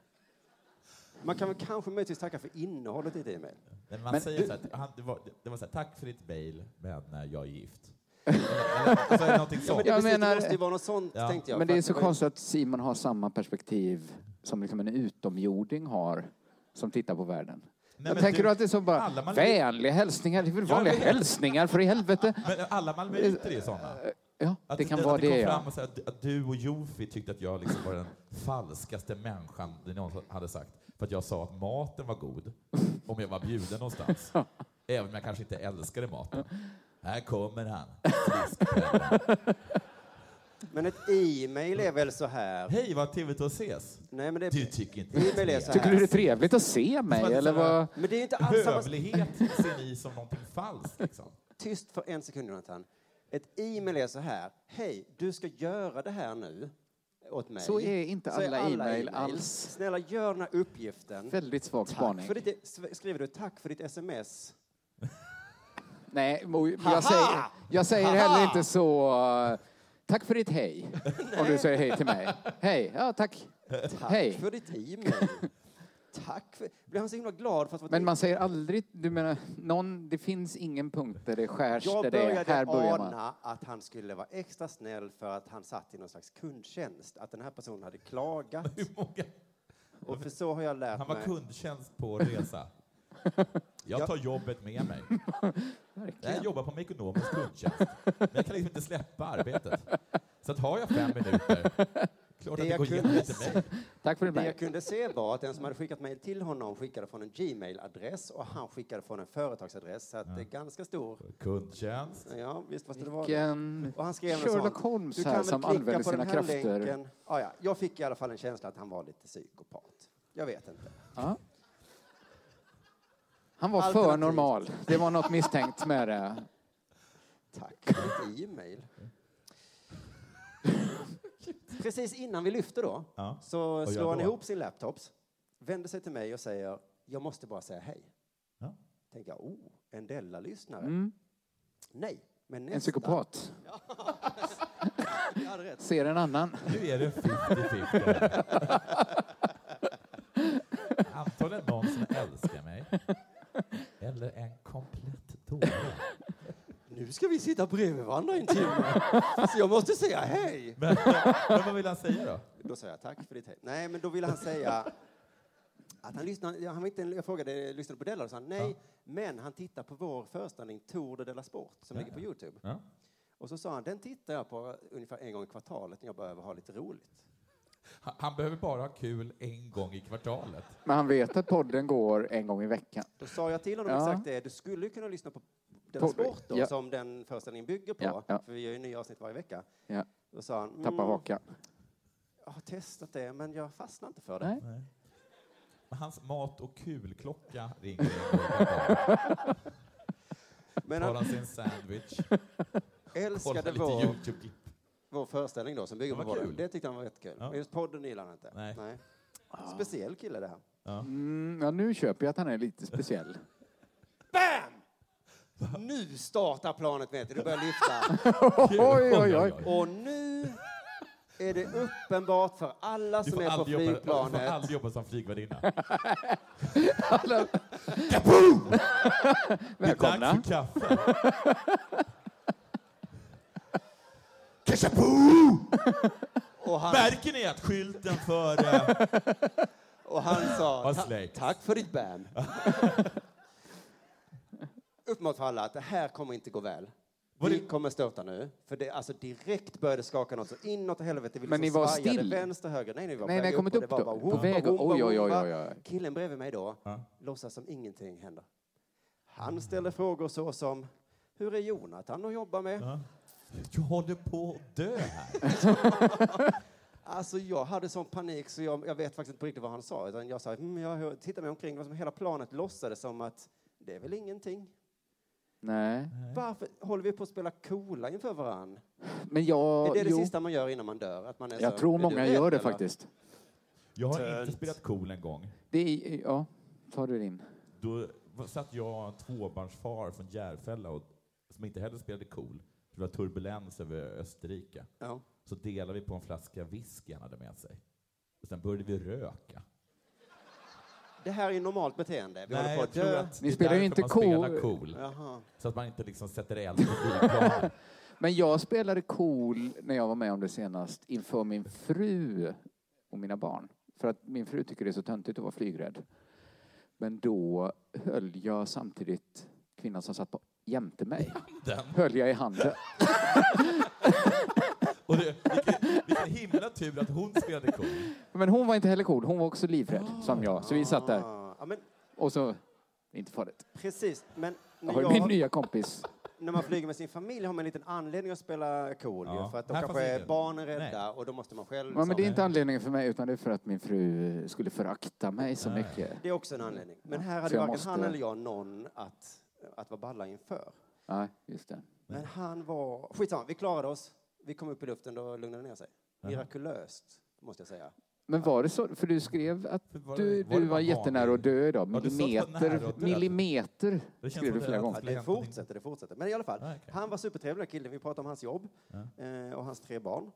Man kan väl kanske möjligtvis tacka för innehållet i ett e-mail.
Men man
Men
säger
du-
så att han, det, var, det var så här, tack för ditt mejl, men eh, jag är gift. Eller- alltså, någonting
Ja, men
sånt.
det, precis, det måste ju vara något sånt,
Ja.
tänkte jag.
Men
för
det är
att
så
var ju-
konstigt att Simon har samma perspektiv som liksom en utomjording har som tittar på världen.
Nej,
jag
men
tänker
du-
du att det är så bara
alla man-
vänliga hälsningar, det är väl
Ja,
vanliga
men-
hälsningar för i helvete.
Men alla malmöiter är såna.
Ja,
Att
det kan
att
vara det
kom
ja.
fram och sa att, att du och Jofi tyckte att jag liksom var den falskaste människan det någon hade sagt för att jag sa att maten var god om jag var bjuden någonstans. Även om jag kanske inte älskade maten. Här kommer han.
Men ett e-mail är väl så här...
Hej, vad trevligt att ses.
Nej, men det...
Du tycker inte
E-mail är så här.
Tycker du det är trevligt att se mig? Eller vad?
Men det är ju inte alls samma...
Hövlighet ser ni som någonting falskt. Liksom.
Tyst för en sekund, Jonathan. Ett e-mail är så här. Hej, du ska göra det här nu åt mig.
Så är inte
Så är
alla e-mail
e-mail.
alls.
Snälla, gör den här uppgiften.
Väldigt svag
Tack
spaning.
för ditt, e- skriver du tack för ditt sms?
Nej, mo-
Haha!
jag säger, jag säger heller inte så... eh, Tack för ditt hej, om du säger hej till mig. Hej, ja tack.
Tack
Hej.
för ditt e-mail. Tack för... Blir han så himla glad för att få ett
Men man säger aldrig, du menar, någon, det finns ingen punkt där det skärs, där
Jag
det är,
började
här börjar man.
ana att han skulle vara extra snäll för att han satt i någon slags kundtjänst. Att den här personen hade klagat. Och för så har jag lärt
Han var
mig.
kundtjänst på resa. Jag tar jobbet med mig. Jag jobbar på Mekonomens kundtjänst. Men jag kan liksom inte släppa arbetet. Så att har jag fem minuter, klart att det
jag
går igenom
kunde
lite mig.
Tack för det
Det
mejl.
jag kunde se var att den som hade skickat mejl till honom skickade från en Gmail-adress och han skickade från en företagsadress. Så att det är ganska stor...
Kundtjänst.
Ja, visst måste det vara
Vilken
det. Och han skrev något
Sherlock
sånt.
Holmes
Du kan
här
väl
som
klicka
använder
på
sina
den här
krafter.
länken. Ah, ja. Jag fick i alla fall en känsla att han var lite psykopat. Jag vet inte.
Ja. Han var för
Alternativt.
normal. Det var något misstänkt med det.
Tack för ditt e-mail. Precis innan vi lyfter då
Ja.
så
Vad gör
slår han
då?
ihop sin laptops, vänder sig till mig och säger jag måste bara säga hej.
Ja.
Tänker jag, oh, en Della-lyssnare.
Mm.
Nej, men nästa.
En psykopat.
Jag hade rätt.
Ser en annan.
Nu är det 50-50. Antagligen någon som älskar mig. Eller en komplett dåre.
Nu ska vi sitta bredvid varandra i en timme, så jag måste säga hej.
Men, men vad vill han säga då?
Då sa jag tack för ditt hej. Nej, men då ville han säga att han lyssnade, ja, han var inte, jag frågade, lyssnade på Della och sa han, nej, men han tittar på vår föreställning Tour de Della Sport som
Ja,
ligger på Youtube.
Ja.
Och så sa han, den tittar jag på ungefär en gång i kvartalet när jag behöver ha lite roligt.
Han- Han behöver bara ha kul en gång i kvartalet.
Men han vet att podden går en gång i veckan.
Då sa jag till honom
Ja.
exakt det. Du skulle ju kunna lyssna på den
På-
sport då,
ja.
som den föreställningen bygger på.
Ja, ja.
För vi gör ju nya avsnitt varje vecka.
Ja.
Då sa han,
Tappar
mm,
hakan.
jag har testat det men jag fastnar inte för det.
Nej.
Men hans mat och kulklocka ringer. en gång per dag.
Men
Tar
han-
han sig en sandwich. kollar
Älskade
lite
vår,
YouTube-klipp.
vår föreställning då som bygger
Det
på
var
podden.
kul.
Det tyckte han var jättekul. Men just podden gillar han inte. Nej. Speciell kille det här.
Mm, ja, nu köper jag att han är lite speciell.
Nu startar planet vet du, du börjar lyfta.
Oj, oj, oj.
Och nu är det uppenbart för alla
Du
som
får,
är på
aldrig jobba, du får
flygplanet.
aldrig jobba som flygvärdinna.
Alla...
Kaboom!
Välkomna.
Det är dags för kaffe.
Och han,
Märker ni att skylten för... eh,
och han sa
Vad
"Ta-
släkt."
tack för ditt bam. Uppenbart för alla att det här kommer inte gå väl. Vi kommer störta nu. För det, alltså direkt började skaka något så inåt och helvete. Vi
Men ni
liksom
var
svajade
still?
Vänster, höger. Nej, ni var på
Nej,
väg
ni kom
upp
inte
och det
upp
var
då?
bara
På
wumpa,
väg upp.
wumpa,
Oj, oj, oj,
wumpa.
oj, oj.
Killen bredvid mig då låtsas som ingenting händer. Han ställer frågor så som hur är Jonathan att jobba med?
Du håller på att dö här.
Alltså jag hade sån panik så jag, jag vet faktiskt inte på riktigt vad han sa. Utan jag sa, mm, jag hör- tittade mig omkring, det var som hela planet låtsades som att det är väl ingenting.
Nej.
Varför håller vi på att spela coola inför varann?
Men jag...
är det det
jo,
sista man gör innan man dör? Att man är
jag
så,
tror
"Är du
många
rädd,
gör det
eller?"
faktiskt.
Jag har inte spelat cool en gång.
Det är, ja, tar du din.
Då satt jag en tvåbarnsfar från Järfälla och, som inte heller spelade cool. Det var turbulens över Österrike.
Ja.
Så delade vi på en flaska whisky han hade med sig. Och sen började vi röka.
Det här är ju normalt beteende. Vi håller
Nej,
på
jag
att
tror
dö.
att
Ni
det är
spelar ju inte
därför man
cool.
spelar cool.
Jaha.
Så att man inte liksom sätter eld på flygplanen.
Men jag spelade cool när jag var med om det senast inför min fru och mina barn. För att min fru tycker det är så töntigt att vara flygrädd. Men då höll jag samtidigt kvinnan som satt på, jämte mig,
Den.
höll jag i handen.
Och det, vilken, vilken himla tur att hon spelade cool.
Men hon var inte heller cool, hon var också livrädd som jag. Så vi satt där
Ah, Ja, men
och så, inte farligt.
precis. Men
Jag
när,
har ju
jag,
min nya kompis.
när man flyger med sin familj har man en liten anledning att spela cool.
Ja.
ju, För att då
Här
kanske
fanns
är
ingen.
barnen rädda och då måste man själv... liksom-
Ja, men det är
som-
inte anledningen för mig utan det är för att min fru eh, skulle förakta mig så mycket.
Det är också en anledning. Men här
Så
hade
jag
varken
måste-
han eller jag någon att, att vara balla inför.
Nej, just det.
Men han var... Skitsamma, vi klarade oss. Vi kom upp i luften, då lugnade det ner sig. Mirakulöst, måste jag säga.
Men var det så? För du skrev att
var det-
du,
var
du
det
var
bara
jättenära att
vanlig?
dö idag.
Ja, du sa att det var nära
Millimeter,
att dö.
millimeter
Det känns
skrev
som
du
det
flera
är
Ja,
gånger.
att-
det
hänt någonting?
fortsätter, det fortsätter. Men i alla fall,
Ja, okej.
han var supertrevlig den här killen. Vi pratade om hans jobb eh, och hans tre barn.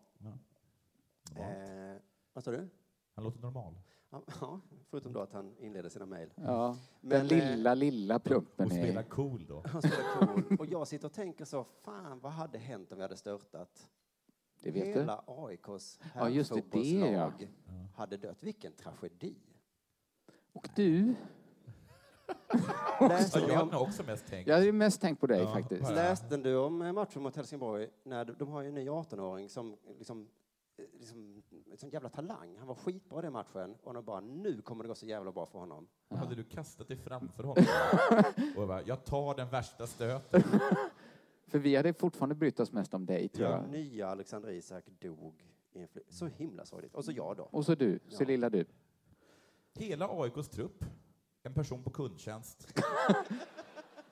Eh, vad sa du?
Han låter normal.
Ja, Ja, förutom då att han inleder sina mejl.
Ja, den
Men,
lilla, lilla plumpen
Och spelar
är...
cool då.
Han spelar cool. Och jag sitter och tänker så, fan vad hade hänt om vi hade störtat?
Det vet du.
Hela AIKs
Ja, just det, det, ja.
herrfotbollslag hade dött. Vilken tragedi.
Och du?
Läste
Ja,
ni
jag
om-
hade nog också mest tänkt.
Jag hade ju mest tänkt på dig faktiskt.
Ja.
Läste du om eh, matchen mot Helsingborg? När de, de har ju en ny 18-åring som liksom, eh, liksom, som jävla talang. Han var skitbra i den matchen och de bara nu kommer det gå så jävla bra för honom.
Hade du kastat dig framför honom? Och jag bara, jag tar den värsta stöten.
För vi hade fortfarande brytt oss mest om dig, tror
Den
jag.
nya Alexander Isak dog. i en fly- Så himla sorgligt. Och så jag då.
Och så du, så lilla du.
Hela AIKs trupp, en person på kundtjänst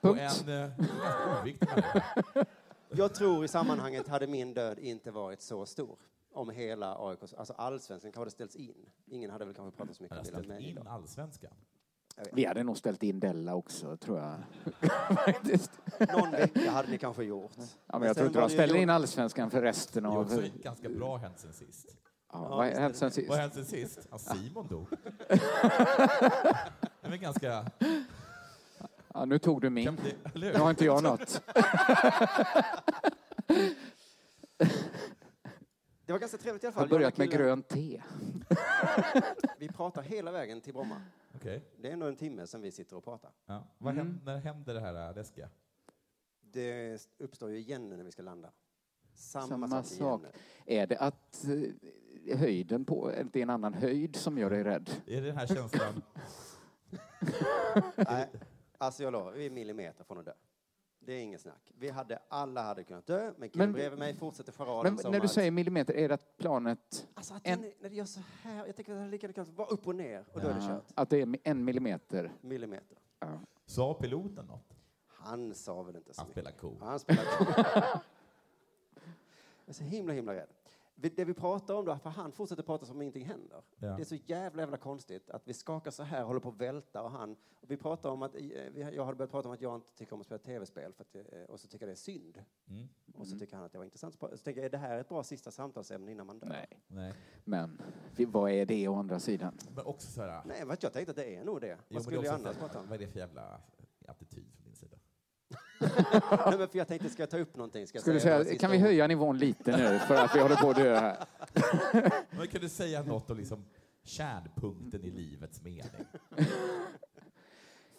och
Punkt.
en eh, ganska oviktig människa.
Jag tror i sammanhanget hade min död inte varit så stor. Om hela AIKs, alltså allsvenskan kanske hade ställts in. Ingen hade väl kanske pratat så mycket
Han
om
har
Milan
ställt
Mejl
in
då.
allsvenskan.
Vi hade nog ställt in Della också, tror jag. Faktiskt.
Någon vecka hade ni kanske gjort.
Ja, men jag tror inte de ställer in allsvenskan för resten
Det är
av...
också ganska bra hänt sen sist.
Ja, vad har hänt sen
Vad
sist?
har hänt sen sist? Ja, Simon dog. Det är ganska...
Ja, nu tog du min.
Kan bli, eller hur?
Nu har inte jag något.
Det var ganska trevligt i alla
Jag har
fall.
börjat med
Jag och den här
grönt te.
killen, Vi pratar hela vägen till Bromma.
Okej.
Det är ändå en timme som vi sitter och pratar.
Ja. Vad
Mm.
händer, när händer det här äh, läskiga?
Det uppstår ju igen nu när vi ska landa. Samma,
Samma
sak igen.
sak. Är det att eh, höjden på, det är en annan höjd som gör dig rädd.
Är det den här känslan?
Nej, alltså jag lovar, vi är millimeter från att dö. Det är inget snack. Vi hade, alla hade kunnat dö, men killen
Men-
bredvid mig fortsätter charaden
Men
som
när du
att-
säger millimeter, är det att planet...
Alltså att den, när det gör så här, jag tänker att det hade lika gärna kunnat vara upp och ner och då är det kört.
Att det är en millimeter?
Millimeter.
Ja.
Sa piloten något?
Han sa väl inte så
Han spelar cool.
Ja, Han spelar cool. Jag är så himla, himla rädd. Vi- Det vi pratar om då, för han fortsätter prata som om ingenting händer.
Ja.
Det är så jävla, jävla konstigt att vi skakar så här, håller på att välta och han... Och vi pratar om att, eh, vi- jag hade börjat prata om att jag inte tycker om att spela tv-spel för att, eh, och så tycker jag det är synd.
Mm.
Och så tycker han att det var intressant. Så tänker jag, är det här ett bra sista samtalsämne innan man dör?
Nej.
Nej.
Men vi- vad är det å andra sidan?
Men också så här...
Nej, vet jag tänkte att det är nog det.
Jo, men
Vad skulle
det är
jag
också
annars
så här,
prata om?
Vad är det för jävla attityd från din sida?
Nej, men för jag tänkte, ska jag ta upp någonting? Ska jag
Skulle
säga
säga,
några sista
kan vi
ord?
höja nivån lite nu för att vi håller på att dö här?
Men kan du säga något om liksom kärnpunkten i livets mening?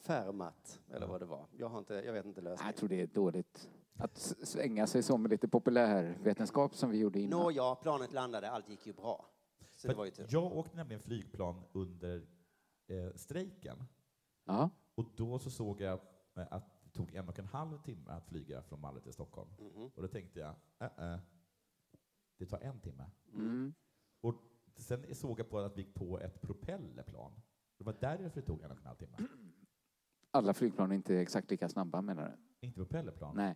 Fermat, eller vad det var. Jag, har inte, jag vet inte lösningen.
Jag tror det är dåligt att s- svänga sig som med lite populärvetenskap som vi gjorde innan.
Nåja, planet landade, allt gick ju bra. Så det
För
var ju tur.
Jag åkte nämligen flygplan under eh, strejken.
Ja.
Och då så såg jag eh, att det tog en och en halv timme att flyga från Malmö till Stockholm.
Mhm.
Och då tänkte jag, äh, äh, det tar en timme.
Mm.
Och sen såg jag på att vi gick på ett propellerplan. Det var därför det tog en och en halv timme.
Alla flygplan är inte exakt lika snabba menar du?
Inte propellerplan.
Nej.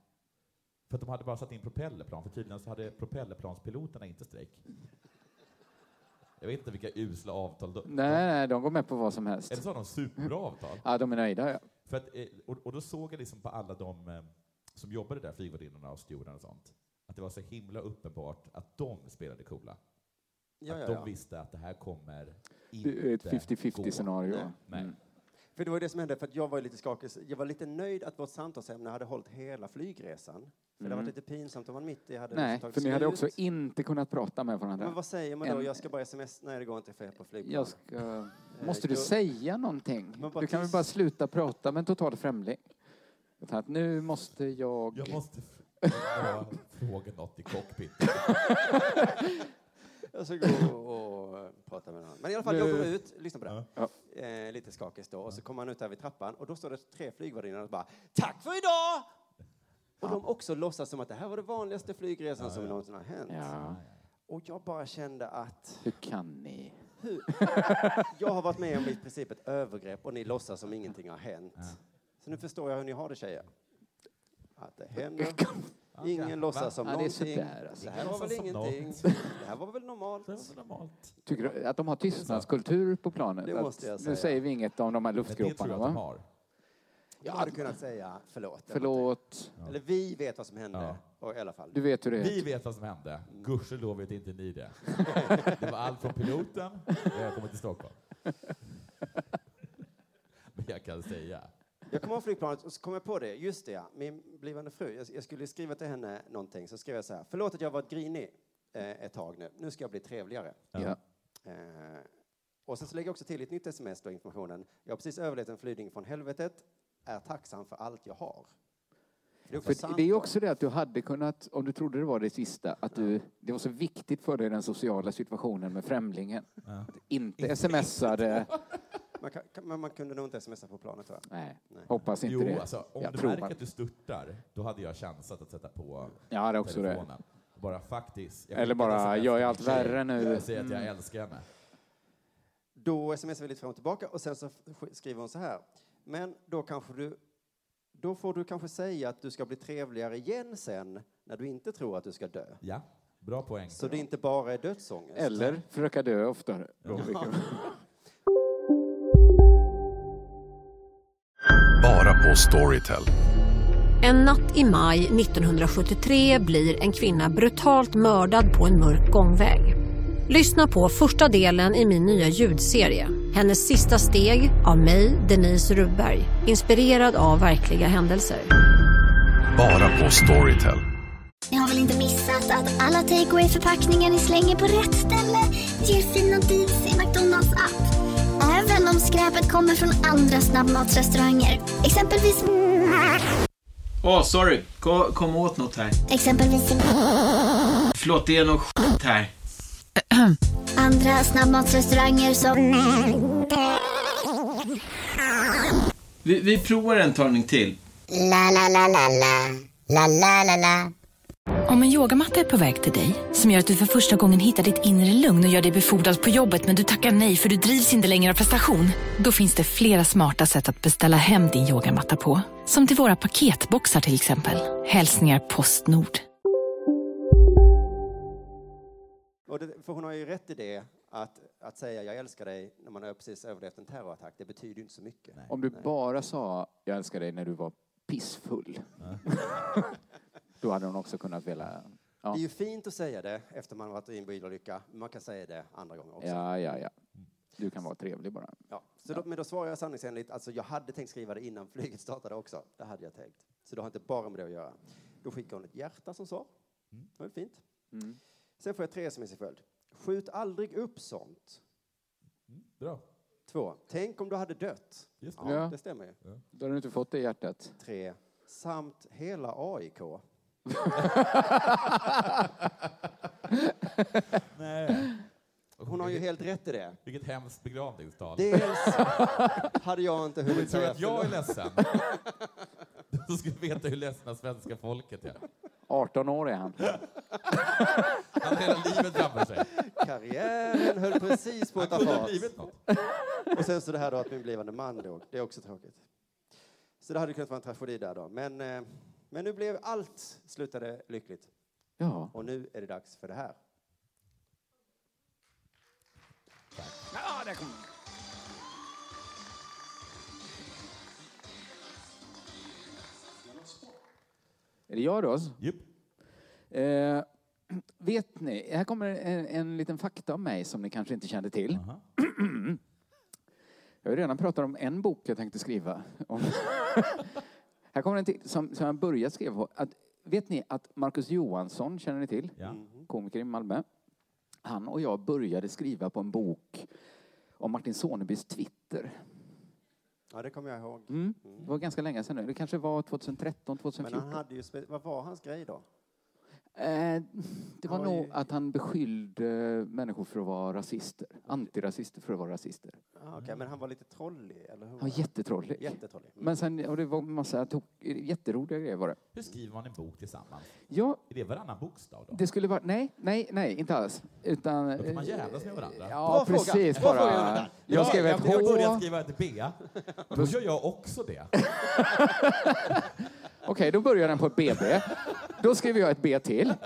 För att de hade bara satt in propellerplan, för tydligen så hade propellerplanspiloterna inte strejk. Jag vet inte vilka usla avtal de...
Nej, nej, de går med på vad som helst.
Eller så har de superbra avtal.
Ja, de är nöjda ja.
För att, eh, och, och då såg jag liksom på alla de eh, som jobbade där, flygvärdinnorna och stjordarna och sånt, att det var så himla uppenbart att de spelade coola.
Ja,
att
ja,
de
ja.
visste att det här kommer
Det är ett
inte
50-50
gå.
scenario. Mm.
Nej.
Nej.
För det var ju det som hände, för att jag var ju lite skakig. Jag var lite nöjd att vårt samtalsämne hade hållit hela flygresan. För det hade
Mm.
varit lite pinsamt om man mitt i hade
Nej,
tagit
för ni hade
slut.
också inte kunnat prata med varandra.
Men vad säger man då?
En-
Jag ska bara sms... Nej, det går inte för jag är på flygplan.
Jag ska... Måste du
jag-
säga någonting?
Men bara
Du kan väl
tyst.
bara sluta prata med en total främling? Utan att nu måste jag...
Jag måste f- ja, fråga något i cockpiten.
Jag ska gå och eh, prata med någon. Men i alla fall, jag går ut, lyssna på det.
Ja.
Eh, lite skakig då. Och så kommer han ut där vid trappan och då står det tre flygvärdinnor och bara ”Tack för idag!” Och de också låtsas som att det här var den vanligaste flygresan som någonsin har hänt.
Ja,
Och jag bara kände att
hur kan ni?
hur? jag har varit med om i princip ett övergrepp och ni låtsas som ingenting har hänt. Så nu förstår jag hur ni har det tjejer. Att det händer. Ingen låtsas som
Ja, det är
någonting.
sådär, alltså.
Det här var väl
Ingen låtsas som
ingenting. Det här var väl normalt.
Det var så normalt.
Tycker du att de har tystnadskultur på planet?
Det
Att
måste jag säga.
Nu säger vi inget om de här
Men det tror
luftgroparna,
jag att de
va?
har.
Jag hade kunnat säga förlåt. eller
Förlåt.
någonting. Eller vi vet vad som hände.
Ja.
Och, i alla fall.
Du vet hur det är.
Vi vet vad som hände.
Mm.
Gudskelov vet inte ni det. Det var allt från piloten när jag kom till Stockholm. Men jag kan säga.
Jag kom av flygplanet och så kom jag på det. Just det, ja. Min blivande fru. Jag, jag skulle skriva till henne någonting. Så skrev jag så här. Förlåt att jag har varit grinig eh, ett tag nu. Nu ska jag bli trevligare.
Ja.
Eh, och sen så lägger jag också till ett nytt sms då, informationen. Jag har precis överlevt en flygning från helvetet. Är tacksam för allt jag har. För det är också sant
För det är
då.
också det att du hade kunnat, om du trodde det var det sista, att du, det var så viktigt för dig den sociala situationen med främlingen. Att Inte smsade.
Man, kan, kan, men man kunde nog inte smsa på planet tror jag.
Nej,
Nej.
hoppas inte
Jo,
det.
alltså, om
jag
du
tror
märker
man.
att du störtar, då hade jag chansat att sätta på
Jag hade också det.
telefonen. Bara faktiskt. jag
Eller
skickade
bara,
sms
jag Mm. är
till
allt
min tjej.
värre nu.
Jag säger att jag älskar henne.
Då smsar vi lite fram och tillbaka och sen så sk- skriver hon så här. Men då kanske du då får du kanske säga att du ska bli trevligare igen sen när du inte tror att du ska dö.
Ja, bra poäng.
Så det inte bara är dödsångest.
Eller försöka dö oftare. Då, vilket-
Bara på Storytel.
En natt i maj 1973 blir en kvinna brutalt mördad på en mörk gångväg. Lyssna på första delen i min nya ljudserie. Hennes sista steg av mig, Denise Rubberg. Inspirerad av verkliga händelser.
Bara på Storytel.
Ni har väl inte missat att alla takeaway förpackningar ni slänger på rätt ställe ger fina deals i McDonalds app. Även om skräpet kommer från andra snabbmatsrestauranger. Exempelvis...
Åh, sorry. Kom, kom åt något här.
Exempelvis...
Förlåt, det är något skit här.
Andra snabbmatsrestauranger som...
Vi, vi provar en talning till.
La, la, la, la, la. La, la, la, la.
Om en yogamatta är på väg till dig, som gör att du för första gången hittar ditt inre lugn och gör dig befordrad på jobbet men du tackar nej för du drivs inte längre av prestation. Då finns det flera smarta sätt att beställa hem din yogamatta på. Som till våra paketboxar till exempel. Hälsningar Postnord.
Och det, för hon har ju rätt i det, att, att säga jag älskar dig när man har precis överlevt en terrorattack, det betyder ju inte så mycket.
Om du bara sa jag älskar dig när du var pissfull. Då hade hon också kunnat vilja... Ja,
Det är ju fint att säga det efter man har varit i en bilolycka, men man kan säga det andra gånger också.
ja, ja. ja.
Mm.
Du kan vara trevlig bara.
Ja. Så då, men då svarar jag sanningsenligt, alltså jag hade tänkt skriva det innan flyget startade också. Det hade jag tänkt. Så det har inte bara med det att göra. Då skickar hon ett hjärta som svar. Det var ju fint.
Mm.
Sen får jag tre sms i följd. Skjut aldrig upp sånt.
Bra.
Två. Tänk om du hade dött.
Just
det. Ja, det stämmer ju.
Då har du inte fått det i hjärtat.
Tre. Samt hela AIK.
Nej.
Hon har ju helt rätt i det.
Vilket hemskt begravningstal.
Dels hade jag inte hunnit
tror
säga
att jag är
förlåt.
ledsen. Du skulle veta hur ledsna svenska folket är.
18 år är han.
Han har hela livet framför sig.
Karriären höll precis på att ta
Han kunde ha
fart.
blivit något.
Och sen så det här då att min blivande man dog. Det är också tråkigt. Så det hade kunnat vara en tragedi där då. Men, eh, men nu blev allt slutade lyckligt.
Ja.
Och nu är det dags för det här.
Är det jag då?
Yep.
Eh, vet ni, här kommer en, en liten fakta om mig som ni kanske inte kände till. jag har ju redan pratat om en bok jag tänkte skriva. Om. här kommer en till som, som jag börjat skriva på. Att, vet ni att Marcus Johansson känner ni till?
Mhm.
Komiker i Malmö. Han och jag började skriva på en bok om Martin Sonebys Twitter.
Ja, det kommer jag ihåg.
Mm. Det var ganska länge sedan nu. Det kanske var 2013,
Men han
2014.
hade ju... spe- Vad var hans grej då?
Eh, det var
Han var
nog
ju-
att han beskyllde människor för att vara rasister. Antirasister för att vara rasister.
Ah, Okej, men han var lite trollig, eller hur?
Han var jättetrollig.
Jättetrollig. Mm.
Men sen, och det var massa tok, jätteroliga grejer var det.
Hur skriver man en bok tillsammans?
Ja,
Är det varannan bokstav då?
det skulle vara... Nej, nej, nej, inte alls. Utan...
Då kan man
eh,
jävlas med varandra.
Ja, precis. Bara. Jag skrev ett
jag, jag började
H.
skriva ett B. Då gör jag också det.
Okej, då börjar den på ett BB. Då skriver jag ett B till.
Men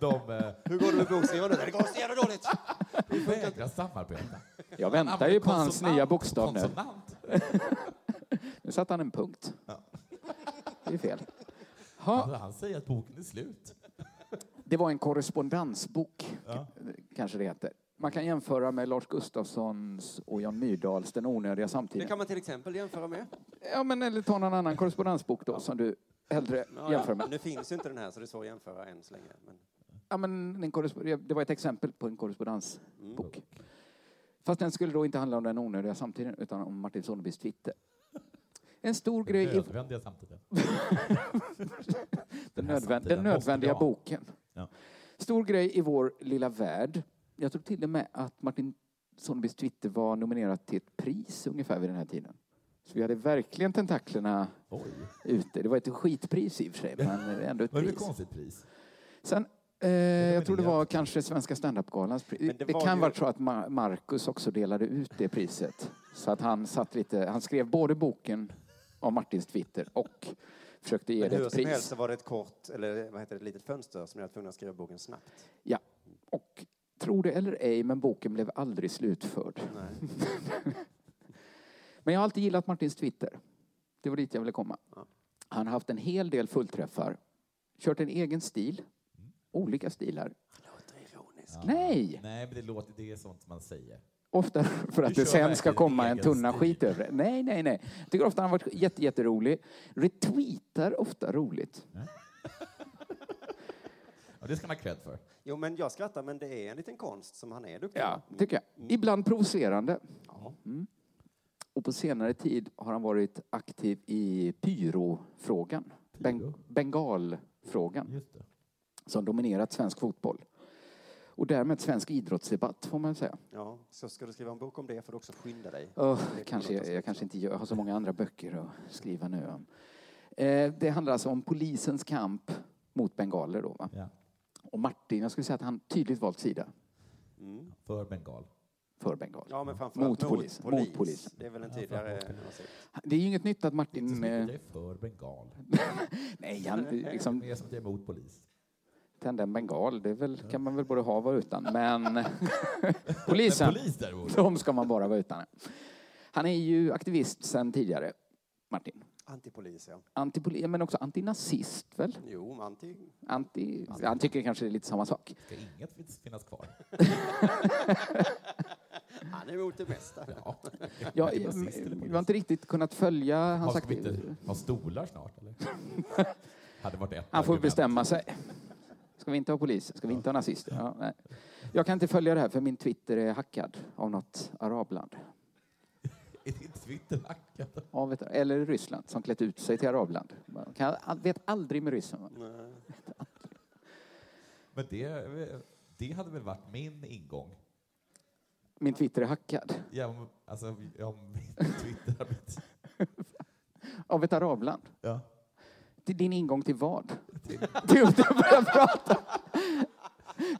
de eh,
Hur går det med bokskrivandet? Det går så jävla dåligt!
vägrar samarbeta.
Jag väntar ju på hans
Konsonant.
nya bokstav nu.
Konsonant.
Nu satte han en punkt. Det är fel.
Alltså,
Ha,
han säger att boken är slut.
det var en korrespondensbok,
Ja.
kanske det heter. Man kan jämföra med Lars Gustafssons och Jan Myrdals Den onödiga
Det
samtiden.
kan man till exempel jämföra med.
Ja, men eller ta någon annan korrespondensbok då som du hellre
Ja,
jämför
ja.
med.
Nu finns ju inte den här, så det är svårt att jämföra än så länge. Men...
Ja, men en korrespondens, det var ett exempel på en korrespondensbok.
Mm.
Fast den skulle då inte handla om den onödiga samtiden utan om Martin Sonnebys Twitter. En stor grej i
Nödvändiga samtidigt.
den,
här
nödvänd, den
samtiden
nödvändiga
måste vi ha.
boken.
Ja.
Stor grej i vår lilla värld. Jag tror till och med att Martin Sonnebys Twitter var nominerad till ett pris ungefär vid den här tiden. Så vi hade verkligen tentaklerna
Oj.
ute. Det var ett skitpris i och för sig, men ändå ett
Vad är det
pris.
för konstigt pris?
Sen, eh, jag tror det var kanske Svenska standup-galans pris.
Men det
Det,
var
kan
ju-
vara så att Ma- Marcus också delade ut det priset. Så att han satt lite, han skrev både boken om Martins Twitter och försökte ge
Men
det
hur
ett
som helst
pris.
så var det ett kort, eller vad heter det, ett litet fönster som jag var tvungen att skriva boken snabbt.
Ja. Och tro det eller ej, men boken blev aldrig slutförd.
Nej.
Men jag har alltid gillat Martins Twitter. Det var dit jag ville komma. Han har haft en hel del fullträffar. Kört en egen stil. Olika stilar. Nej!
Nej, men det, låter, det är sånt man säger.
Ofta för att det
Du kör
sen ska
verkligen
komma en
egen
tunna
stil.
skit över det. Nej, nej, nej. Jag tycker ofta han har varit jätte, jätterolig. Retweetar ofta roligt.
Ja, det ska man ha cred för.
Jo, men jag skrattar, men det är en liten konst som han är duktig
Ja,
på.
tycker jag. Ibland provocerande. Mm. Och på senare tid har han varit aktiv i pyrofrågan. Beng- Bengalfrågan.
Just det.
Som dominerat svensk fotboll.
och därmed svensk idrottsdebatt får man säga.
Ja, så ska du skriva en bok om det får du också skynda dig.
Oh, kanske, jag, jag kanske inte gör, jag har så många andra böcker att skriva nu om. Eh, det handlar alltså om polisens kamp mot bengaler då. Va?
Ja.
Och Martin, jag skulle säga att han tydligt valt sida
För bengal.
för bengal.
Ja, men framförallt
mot, polis. Mot polis.
Det är väl en tydligare åsikt.
Det är ju inget nytt att Martin...
Mm,
Inte så mycket
eh,
att jag är för bengal.
Nej, han, liksom,
Mer som att jag är emot polis.
tända en bengal, det är väl, kan man väl både ha och vara utan. Men polisen,
Men polis däremot.
de ska man bara vara utan. Han är ju aktivist sedan tidigare, Martin.
Antipolis, ja.
Antipoli, men också antinazist, väl?
Jo, men anti...
Anti, han tycker kanske det är lite samma sak.
Ska inget finns- finnas kvar?
Han är emot det mesta.
Ja.
Jag,
Är det nazist eller
jag
polis?
har inte riktigt kunnat följa hans
Har, ska vi
aktiv...
inte ha stolar snart eller? Hade varit ett
Han får
argument.
bestämma sig. Ska vi inte ha polis? Ska vi inte ha nazister? Ja, nej. Jag kan inte följa det här för min Twitter är hackad av något arabland.
Är din Twitter hackad?
Ja, vet du, eller Ryssland som klätt ut sig till arabland. Man Kan, vet aldrig med ryssen. va?
Men det, det hade väl varit min ingång?
Min Twitter är hackad
Ja, om, alltså, om min Twitter hade blivit...
av ett arabland.
Ja.
Till din ingång till vad? Till att börja prata.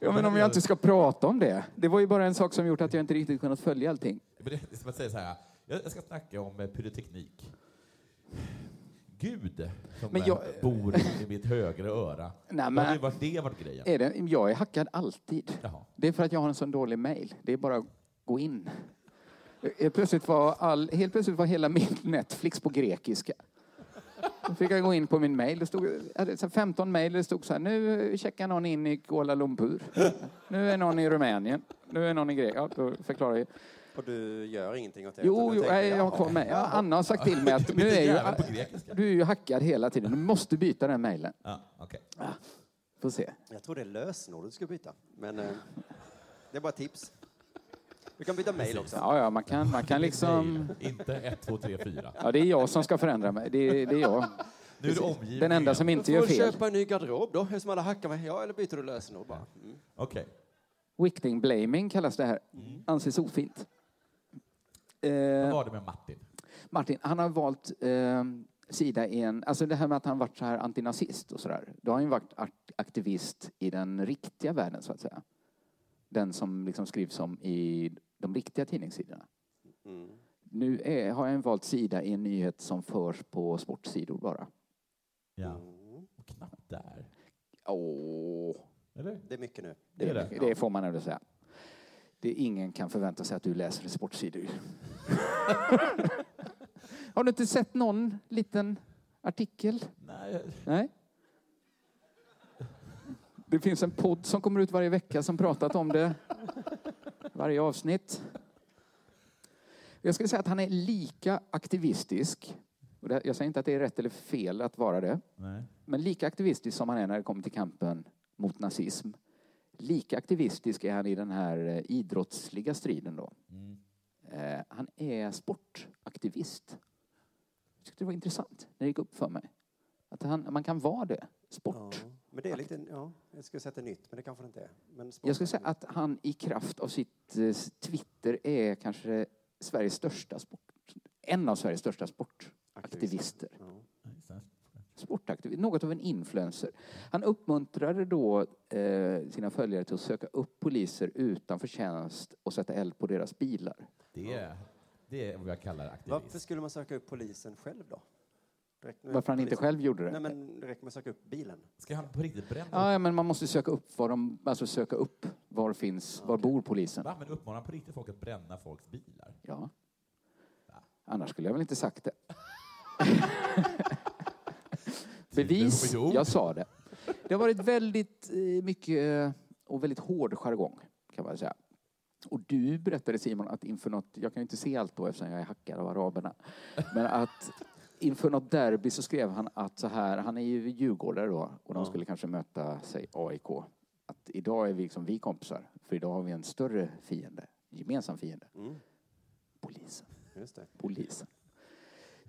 Ja, men om jag inte ska prata om det. Det var ju bara en sak som gjort att jag inte riktigt kunnat följa allting.
Men det är som att säga så här, jag jag ska snacka om eh, pyroteknik. Gud som
Men
men
jag-
bor i mitt högra öra.
Nej,
Då
men-
hade ju varit det varit grejen.
Är det, jag är hackad alltid.
Jaha.
Det är för att jag har en sån dålig mail. Det är bara att gå in. Helt plötsligt var, all, helt plötsligt var hela min Netflix på grekiska. Då fick jag gå in på min mail. Det stod jag hade så här 15 mail. Det stod så här, nu checkar någon in i Kuala Lumpur. Nu är någon i Rumänien. Nu är någon i Grekland. Ja, då förklarar jag.
Och du gör ingenting åt det? utan
Jo,
du
jo
tänker,
nej, jag har kvar
jaha.
mig. Ja, Anna har sagt till mig att nu är
jävel på
ju,
grekiska.
du är ju hackad hela tiden. Du måste byta den mailen.
Ja, okej.
Får se.
Jag tror det är lösenord du ska byta. Men eh, det är bara tips. Du kan byta mejl också.
Ja, ja, man kan, man kan liksom...
Inte ett, två, tre, fyra.
Ja, det är jag som ska förändra mig. Det är, det är jag.
Nu är det omgivningen.
Den enda som
Då
inte
får
gör
du
fel.
köpa en ny garderob då, eftersom alla hackar mig. Ja, eller byter du lösenord bara. Mm.
Okej. Mm.
Victim blaming kallas det här. Anses ofint.
Vad
Eh,
var det med Martin?
Martin, han har valt eh, sida i en... Alltså det här med att han varit så här antinazist och sådär. Då har han ju varit ak- aktivist i den riktiga världen, så att säga. Den som liksom skrivs om i de riktiga tidningssidorna.
Mm.
Nu är, har han valt sida i en nyhet som förs på sportsidor bara.
Ja. Och knappt där.
Åh.
Eller?
Det är mycket nu.
Det är det.
Det får man ändå säga. Det ingen kan förvänta sig att du läser sportsidor. Har du inte sett någon liten artikel?
Nej,
Nej. Det finns en podd som kommer ut varje vecka som pratat om det. Varje avsnitt. Jag skulle säga att han är lika aktivistisk. och det- Jag säger inte att det är rätt eller fel att vara det.
Nej.
Men lika aktivistisk som han är när det kommer till kampen mot nazism, lika aktivistisk är han i den här eh, idrottsliga striden då. Eh, han är sportaktivist. Jag tyckte det var intressant när det gick upp för mig. Att han, man kan vara det. Sport.
Men det är lite, ja, jag skulle säga att det är nytt, men det kanske det inte är. Men
Jag skulle säga att han i kraft av sitt eh, s- Twitter är kanske Sveriges största sport. En av Sveriges största sportaktivister. sportaktiv, något av en influencer. Han uppmuntrade då eh, sina följare till att söka upp poliser utanför tjänst och sätta eld på deras bilar.
Det är, det är vad jag kallar aktivist.
Varför skulle man söka upp polisen själv då? Direkt med
Varför han inte
polisen.
själv gjorde det?
Nej, men det räcker med att söka upp bilen.
Ska han på riktigt bränna
Ja, ja, men man måste söka upp var de, alltså söka upp var finns, var bor polisen?
Va? Men uppmanar han på riktigt folk att bränna folks bilar?
Ja. Annars skulle jag väl inte sagt det. Bevis,
Tiden på jord.
jag sa det. Det har varit väldigt eh, mycket eh, och väldigt hård jargong kan man säga. Och du berättade Simon att inför något, jag kan ju inte se allt då eftersom jag är hackad av araberna, men att inför något derby så skrev han att så här, han är ju djurgårdare då och de skulle kanske möta, säg AIK. Att idag är vi liksom vi kompisar, för idag har vi en större fiende, gemensam fiende. Polisen.
Mm. Just det.
Polisen.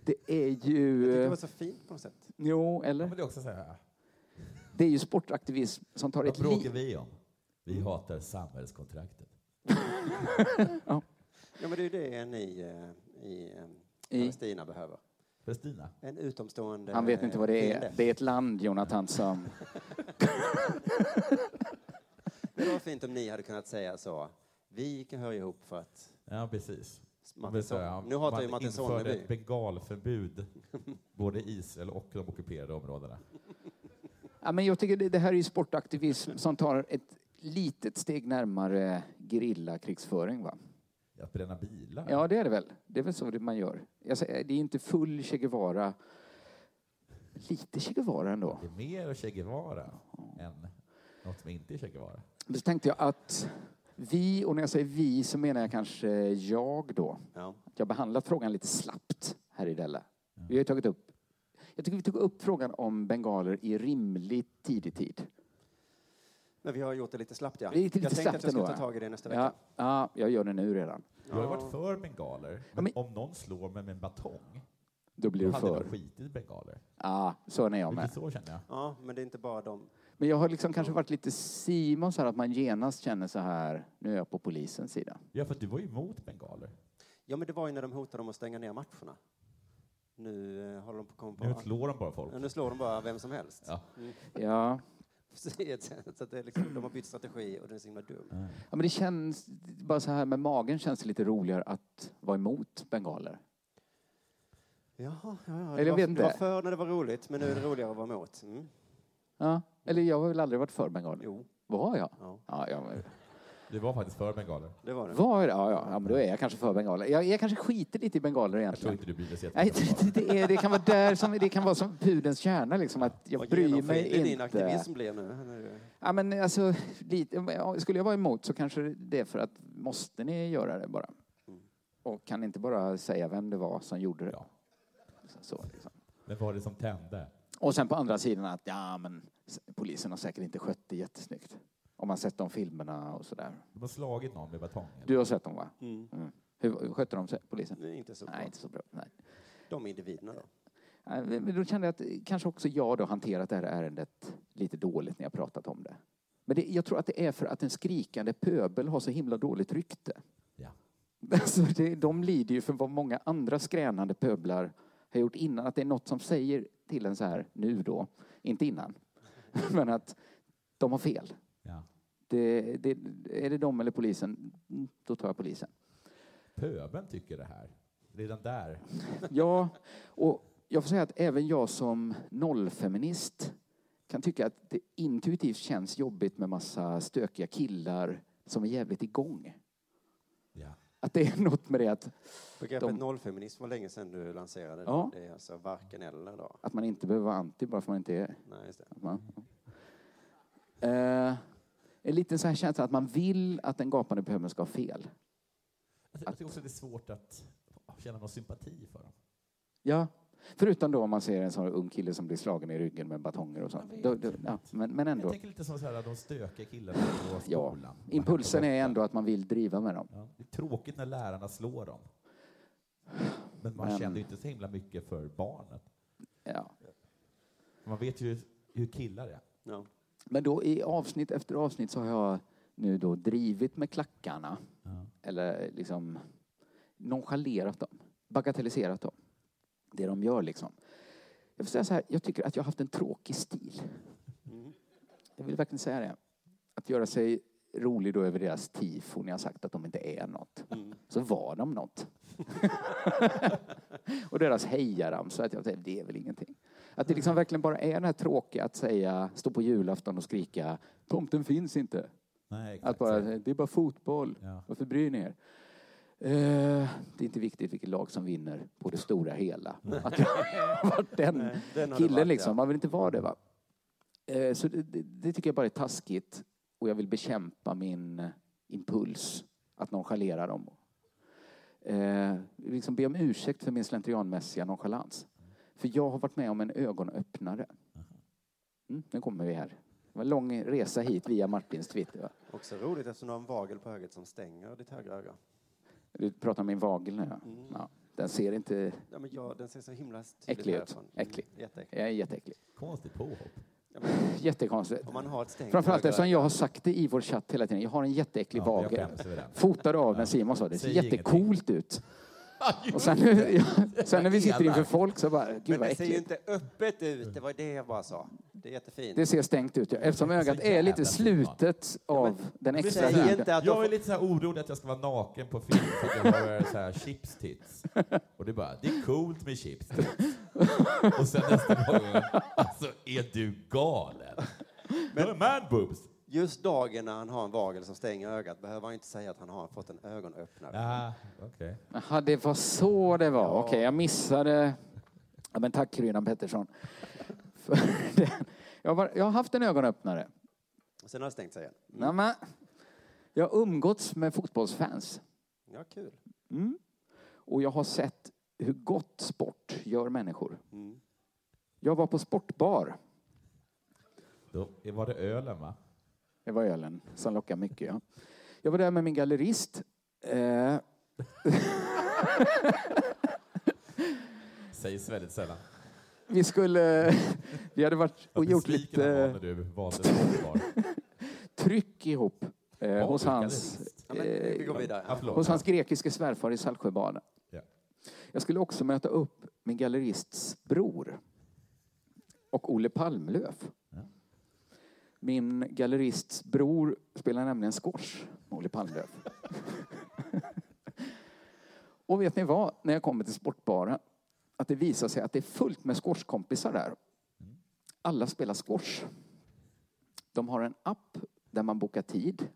Det är
Jag
ju...
tyckte det var så fint på något sätt.
Jo,
Ja,
eller?
men det är också så här,
Det är ju sportaktivism som tar
vad
ett
bråkar
liv.
vi om? Vi Vi hatar samhällskontraktet.
ja. men det är ju det ni eh, i eh, Palestina behöver.
Palestina?
En utomstående...
Han vet inte vad det är.
fiende.
Det är ett land, Jonathan, som...
Det var fint om ni hade kunnat säga så. Vi kan höra ihop för att...
Ja, precis.
Martin
Vill säga,
Son- nu hatar ju Martin
Man införde
Sonneby.
ett bengalförbud både i Israel och de ockuperade områdena.
Ja, men jag tycker det, det här är ju
Mm.
sportaktivism som tar ett litet steg närmare gerillakrigföring, va?
Att bränna bilar?
Ja, det är det väl. Det är väl så det man gör. Jag säger, det är inte full Che Guevara. Lite Che Guevara ändå.
Det är mer Che Guevara än något som inte är Che Guevara.
Men så tänkte jag att vi, och när jag säger vi så menar jag kanske jag då.
Ja.
Att Jag har behandlat frågan lite slappt här i Della. Vi har ju tagit upp, jag tycker vi tog upp frågan om bengaler i rimligt tidig tid.
Men vi har gjort det lite slappt, ja.
Det är lite
jag tänkte
slappt
att jag skulle
ändå,
ta
ja.
tag i det nästa vecka.
Ja, ja, jag gör det nu redan.
Jag har ju varit för bengaler, men, om någon slår mig med en batong
Då blir du
hade
för.
de skitit i bengaler.
Ja, så är jag med.
Lite så känner jag.
Ja, men det är inte bara de.
Men jag har liksom kanske varit lite Simon så här att man genast känner så här, nu är jag på polisens sida.
Ja, för du var ju emot bengaler.
Ja, men det var ju när de hotade om att stänga ner matcherna. Nu eh, håller de på att komma på...
Nu slår de bara folk.
Ja, nu slår de bara vem som helst.
Ja.
Mm.
Ja.
Precis, så att det är liksom, de har bytt strategi och den är så himla dum.
Ja, men det känns, bara så här med magen känns det lite roligare att vara emot bengaler.
Jaha, ja, ja. det
Eller jag
var,
vet inte.
Det var förr när det var roligt, men nu är det roligare att vara emot. Mm.
Ja. Eller jag har väl aldrig varit för bengaler? Jo. Var jag?
Ja.
Ja, ja, men-
Du var faktiskt för bengaler.
Det var det.
Var jag? Ja, ja. ja, men då är jag kanske för bengaler. Jag, jag kanske skiter lite i bengaler
Jag
egentligen.
tror inte du brydde sig
Nej, det, det, är, det kan vara där som, det kan vara som pudelns kärna liksom, att jag bryr mig
Det är din
inte.
aktivism blir nu. Nu är det-
Ja, men alltså, lite, ja, skulle jag vara emot så kanske det är för att måste ni göra det bara? Och kan inte bara säga vem det var som gjorde det? Så, liksom.
Men vad var det som tände?
Och sen på andra sidan att ja, men s- polisen har säkert inte skött det jättesnyggt. Om man sett de filmerna och sådär.
De har slagit någon med batong. eller?
Du har sett dem va?
Mm.
Hur skötte de sig, polisen?
Det är inte så
Nej,
bra.
inte så bra. Nej.
De individerna då.
Nej, Men då kände jag att eh, kanske också jag då hanterat det här ärendet lite dåligt när jag pratat om det. Men det, jag tror att det är för att en skrikande pöbel har så himla dåligt rykte.
Ja.
Alltså det, de lider ju för vad många andra skränande pöblar har gjort innan. Att det är något som säger till en så här, nu då, inte innan, men att de har fel.
Ja.
Det, det, är det de eller polisen, mm, då tar jag polisen.
Pöbeln tycker det här. Redan där.
Ja, och jag får säga att även jag som nollfeminist kan tycka att det intuitivt känns jobbigt med massa stökiga killar som är jävligt igång.
Ja.
Att det är något med det att,
Begreppet
De-
nollfeminism var länge sedan du lanserade det.
Ja.
Det är alltså varken eller då.
att man inte behöver vara anti bara för att man inte är.
Nej, just det.
Att man, eh, en liten så här känsla att man vill att den gapande pöbeln ska ha fel.
Jag tycker också det är svårt att känna någon sympati för dem.
Ja. Förutom då om man ser en sån ung kille som blir slagen i ryggen med batonger och sånt. Då, då, ja, men, men
Jag
ändå.
tänker lite som så här, de stökiga killarna på
Ja,
skolan.
impulsen är ändå att man vill driva med dem.
Ja, det är tråkigt när lärarna slår dem. Men man
Men-
känner ju inte så himla mycket för barnet.
Ja.
Man vet ju hur killar är.
Ja.
Men då i avsnitt efter avsnitt så har jag nu då drivit med klackarna. Eller liksom nonchalerat dem. Bagatelliserat dem. Det de gör liksom. Jag vill säga så här, jag tycker att jag har haft en tråkig stil. Jag vill verkligen säga det. Att göra sig rolig då över deras tifo när jag sagt att de inte är något. Så var de något. och deras hejaramsa, att jag säger det är väl ingenting. Att det liksom verkligen bara är den här tråkiga att säga, stå på julafton och skrika tomten finns inte.
Nej,
Att
exakt.
bara, säga, det är bara fotboll,
Ja.
varför bryr ni er? Eh, det är inte viktigt vilket lag som vinner på det stora hela. Att jag har varit den,
Nej, den har du
killen
varit,
liksom.
ja.
Man vill inte vara det va. Eh, så det, det, det tycker jag bara är taskigt. Och jag vill bekämpa min eh, impuls att nonchalera dem. Eh, liksom be om ursäkt för min slentrianmässiga nonchalans. För jag har varit med om en ögonöppnare. Mm, nu kommer vi här. Det var en lång resa hit via Martins Twitter. Va?
Också roligt eftersom du har en vagel på ögat som stänger ditt högra öga. Mm.
Du pratar om min vagel nu, ja. ja. Den ser inte...
Ja, men ja, den ser så himla tydligt
Äcklig ut.
härifrån. Mm,
Äcklig.
Jätteäcklig.
Jag är jätteäcklig.
Konstigt påhopp.
Ja, men, jättekonstigt.
Om man har ett stängt
Framförallt
öga.
eftersom jag har sagt det i vår chatt hela tiden. Jag har en jätteäcklig
Ja, jag
vagel.
skäms över den.
Fotad av när Simon sa det. Det ser
Säg ingenting.
jättecoolt ut. Och sen, sen när vi sitter inför folk så bara, gud
Men
vad
det ser ju
äckligt.
inte öppet ut, det var det jag bara sa. Det är jättefint.
Det ser stängt ut. ja. Eftersom ögat är lite slutet av den extra huden.
jag är lite så här orolig att jag ska vara naken på film för att jag har så här chips tits. Och det är bara, det är coolt med chips tits. Och sen nästa gång, alltså är du galen? Men man boobs.
Just dagen när han har en vagel som stänger ögat behöver han inte säga att han har fått en ögonöppnare.
Ah, okej.
Jaha, det var så det var. Okej, jag missade. Ja, men tack Rydan Pettersson. För den. Jag, var, jag har haft en ögonöppnare.
Och sen har han stängt Mm. sig igen.
Nej, men, jag har umgåtts med fotbollsfans.
Ja, kul.
Mm. Och jag har sett hur gott sport gör människor.
Mm.
Jag var på sportbar.
Då var det ölen va?
Det var ölen som lockade mycket. Ja. Jag var där med min gallerist. Eh.
Sägs väldigt sällan.
vi skulle... Vi hade varit och
Vad
gjort
besviken han var
lite
när du valde sportbar.
tryck ihop eh,
Ja,
hos,
du
hans, eh,
gallerist. Ja, men vi går vidare. Ja, förlåt.
hos hans grekiske svärfar i Saltsjöbaden.
Ja.
Jag skulle också möta upp min gallerists bror och Olle Palmlöf. Min gallerists bror spelar nämligen squash med Olle Palmlöf. och vet ni vad? När jag kommer till sportbaren att det visar sig att det är fullt med squashkompisar där. Alla spelar squash. De har en app där man bokar tid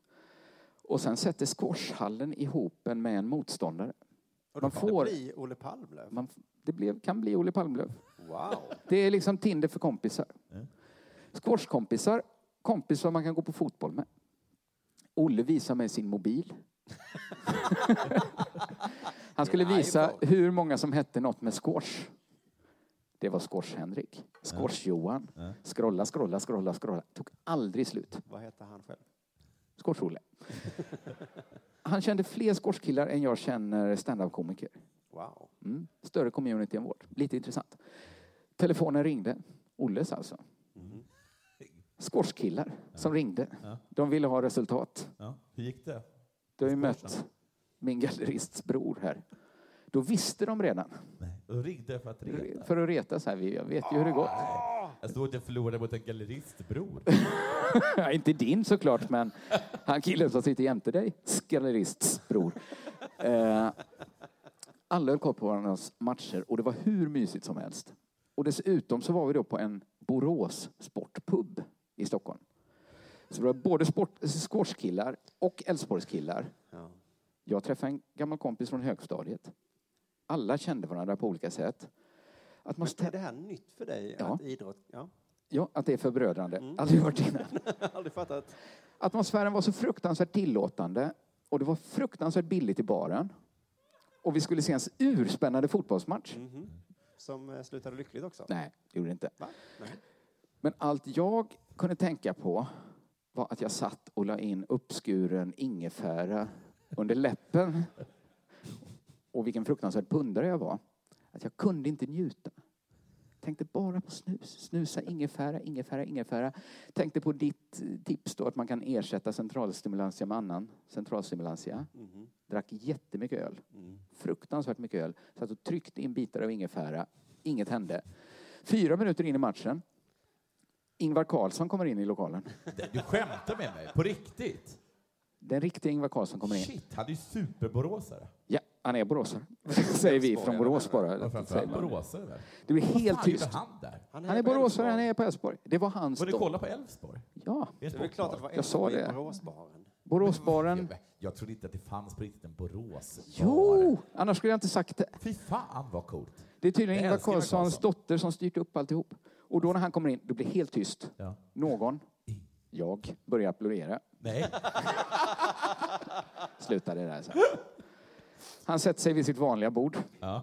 och sen sätter squashhallen ihop en med en motståndare.
Och då
Man
kan
får,
det bli Olle Palmlöf.
man, f- det blev, kan bli Olle Palmlöf.
Wow.
Det är liksom Tinder för kompisar. Squashkompisar, kompisar man kan gå på fotboll med. Olle visar mig sin mobil. Han skulle visa hur många som hette något med squash. Det var squash-Henrik, squash-Johan. Scrolla, scrolla, scrolla, scrolla. Tog aldrig slut.
Vad heter han själv?
Squash-Olle. Han kände fler squashkillar än jag känner standup-komiker.
Wow.
Mm. Större community än vårt. Lite intressant. Telefonen ringde. Olles alltså. Squashkillar som ringde. De ville ha resultat.
Ja. Hur gick det?
Du har ju mött min gallerists bror här. Då visste de redan.
Då ringde jag för att reta.
För att reta så här. vi- Jag vet ju hur det gått.
Jag såg att jag förlorade mot en galleristbror.
Ja, Inte din såklart, men han killen som sitter jämte dig, skallerists bror. Eh, alla höll koll på varandras matcher och det var hur mysigt som helst. Och dessutom så var vi då på en Borås sportpub i Stockholm. Så det var både sport- squashkillar och Älvsborgskillar.
Ja.
Jag träffade en gammal kompis från högstadiet. Alla kände varandra på olika sätt. Att man
Är det här nytt för dig?
Ja.
Att idrott... Ja. Mm.
Ja, att det är förbrödrande. Aldrig hört innan.
Aldrig fattat.
Atmosfären var så fruktansvärt tillåtande och det var fruktansvärt billigt i baren. Och vi skulle se en urspännande fotbollsmatch.
Mhm. Som eh, slutade lyckligt också.
Nej, det gjorde det inte.
Nej.
Men allt jag kunde tänka på var att jag satt och la in uppskuren ingefära under läppen. Och vilken fruktansvärd pundare jag var. Att jag kunde inte njuta. Tänkte bara på snus. Snusa ingefära, ingefära, ingefära. Tänkte på ditt eh, tips då att man kan ersätta centralstimulantia med annan centralstimulantia.
Mm-hmm.
Mhm.
Drack jättemycket öl.
Mm.
Fruktansvärt mycket öl. Satt och tryckte in bitar av ingefära. Inget hände. Fyra minuter in i matchen. Ingvar Carlsson kommer in i lokalen.
Du skämtar med mig? På riktigt?
Den riktiga Ingvar Carlsson kommer in.
Shit, han är ju superboråsare.
Ja, han är boråsare. Säger vi från Borås
Ja,
bara.
framförallt
Säger man.
boråsare väl?
Det blir
Vad
helt
fan gjorde
tyst.
han där?
Han är boråsare, han är på Älvsborg. Det var hans
Var du
dag.
kolla på Elfsborg?
Ja.
Det är
Det är väl klart att det var
Jag sa
Elfsborg i
det.
Boråsbaren.
Boråsbaren.
Jag trodde inte att det fanns på riktigt en Borås.
Jo! Annars skulle jag inte sagt det.
Fy fan vad coolt.
Det är tydligen
Jag
Ingvar
älskar Ingvar
Carlssons
Carlsson.
dotter som styrt upp alltihop. Och då när han kommer in, det blir helt tyst.
Ja.
Någon, jag, börjar applådera.
Nej.
Slutade där sen. Han sätter sig vid sitt vanliga bord.
Ja.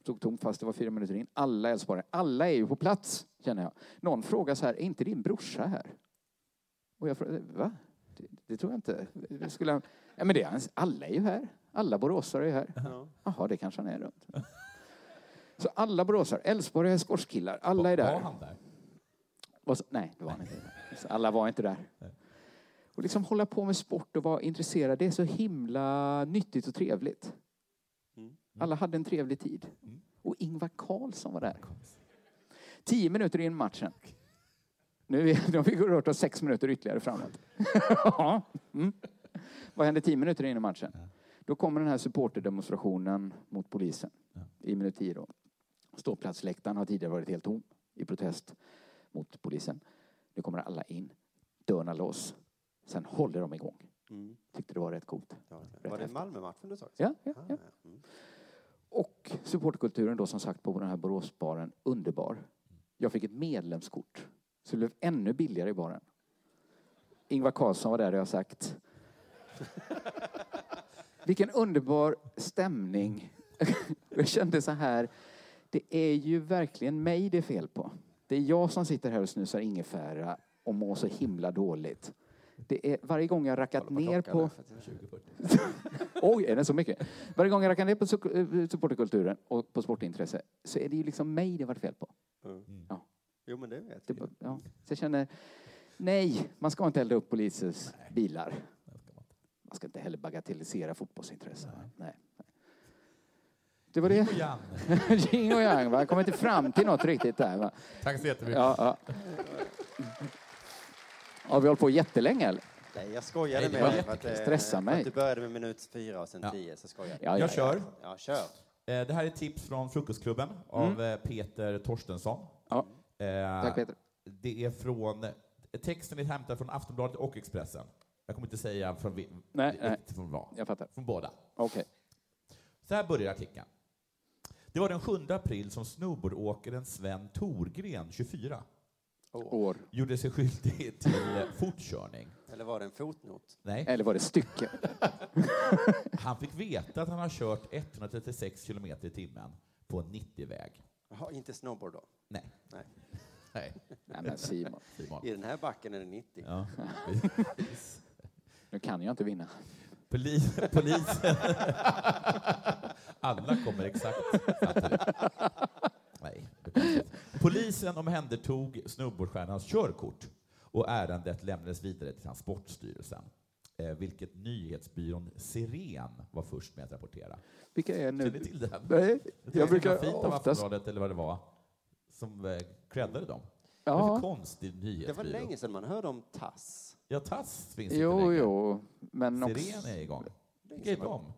Stod tomt fast det var fyra minuter in. Alla Älvsborgare, alla är ju på plats känner jag. Någon frågar så här, är inte din brorsa här? Och jag frågar, va? Det, det tror jag inte. Det Skulle han... ja, men det är hans. Alla är ju här. Alla boråsare är ju här. Jaha, det kanske han är runt. Så alla boråsare, Älvsborgare, skorskillar, alla är där.
Var han där?
Vad sa- nej, det var han inte. Så Alla var inte där. Och liksom hålla på med sport och vara intresserad, det är så himla nyttigt och trevligt. Alla hade en trevlig tid. Och Ingvar Carlsson var där. Tio minuter in i matchen. Nu är- nu har vi rört oss sex minuter ytterligare framåt. Ja. mm. Vad hände tio minuter in i matchen? Då kommer den här supporterdemonstrationen mot polisen. I minut tio då. Ståplatsläktaren har tidigare varit helt tom i protest mot polisen. Nu kommer alla in, dörrarna loss. Sen håller de igång.
Mm.
Tyckte det var rätt coolt.
Var det
häftigt.
Malmö-matchen du sa? Ah, Mm.
Ja, ja, ja. Och supportkulturen då som sagt på den här Boråsbaren, underbar. Jag fick ett medlemskort. Så det blev ännu billigare i baren. Ingvar Carlsson var där och jag har sagt. Vilken underbar stämning. jag kände så här. Det är ju verkligen mig det är fel på. Det är jag som sitter här och snusar ingefära och mår så himla dåligt. Det är, varje gång jag rackat ner på... Oj, är det så mycket? Varje gång jag rackar ner på su- eh, supporterkulturen och på sportintresse så är det ju liksom mig det varit fel på.
Mm.
Ja.
Jo, men det vet
Det, bara- ja. Så jag känner, nej, man ska inte elda upp polisens bilar. Man ska inte heller bagatellisera fotbollsintressen. Nej. Nej. Det var det. Jing och yang. Jing och yang, va? Jag kom inte fram till något riktigt där, va?
Tack så jättemycket.
Ja, ja. Har vi hållit på jättelänge, eller?
Nej, jag skojade
Nej, det
med
var
dig. för att,
jättekul.
eh,
Stressa
för att
mig.
Du började med minut fyra och sen
Ja.
tio, så skojade
Jag kör.
Ja, kör.
Eh, Det här är ett tips från Frukostklubben av eh, Peter Torstensson. Eh,
Tack, Peter.
Det är från, texten är hämtad från Aftonbladet och Expressen. Jag kommer inte säga från, vi-
Nej,
vilket
nej.
från vad.
Jag fattar.
Från båda.
Okej.
Så här börjar artikeln. Det var den 7 april som snowboardåkaren Sven Thorgren, 24,
År.
gjorde sig skyldig till eh, fortkörning.
Eller var det en fotnot?
Nej.
Eller var det stycke?
Han fick veta att han har kört 136 kilometer i timmen på en 90-väg.
Jaha, inte snowboard då?
Nej.
Nej.
Nej.
Nej, men Simon.
Simon.
I den här backen är det 90.
Ja.
Nu kan jag inte vinna.
Polis, polisen. Alla kommer exakt samtidigt. Nej, det är konstigt. Polisen omhändertog snowboardstjärnans körkort och ärendet lämnades vidare till Transportstyrelsen, eh, vilket nyhetsbyrån Siren var först med att rapportera.
Vilka är nu?
Känner ni till det? här?
Nej,
Det var
jag brukar
fint av
oftast...
Aftonbladet, eller vad det var, som eh, creddade dem.
Ja.
Vad för konstig nyhetsbyrå.
Det var länge sedan man hörde om Tass.
Ja, Tass finns inte
Jo,
längre.
jo. Men också...
Siren är igång. Grip om.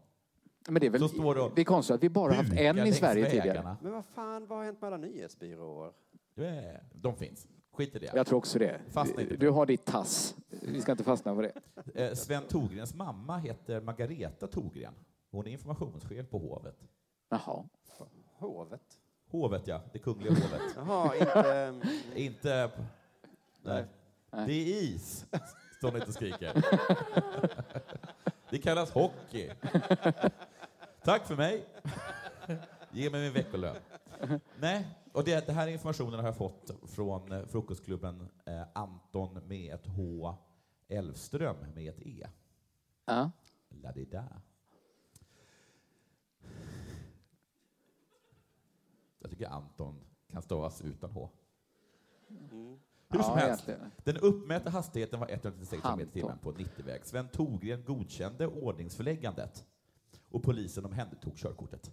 Men det är
Så står det
väl...
och
Det är konstigt att vi bara haft
Bukar
en i
längs
Sverige
vägarna.
tidigare.
Men vad fan, vad har hänt med alla nyhetsbyråer?
Eh, De finns. Skit i det.
Jag tror också det.
Fastna inte.
Du har ditt tass. Vi ska inte fastna på det.
Eh, Sven Togrens mamma heter Margareta Togren. Hon är informationschef på hovet.
Jaha.
Hovet?
Hovet, ja. Det kungliga hovet.
Jaha, inte...
inte... Nej. Det är is, står ni inte och skriker. Det kallas hockey. Tack för mig. Ge mig min veckolön. Nej, och det, det här informationen har jag fått från eh, frukostklubben eh, Anton med ett H, Elfström med ett E.
Ja.
Ladida. Jag tycker Anton kan stavas utan H. Hur som
Ja,
helst,
egentligen.
den uppmätta hastigheten var 136 km i
Anton.
timmen på 90-väg. Sven Togren godkände ordningsförläggandet och polisen omhändertog körkortet.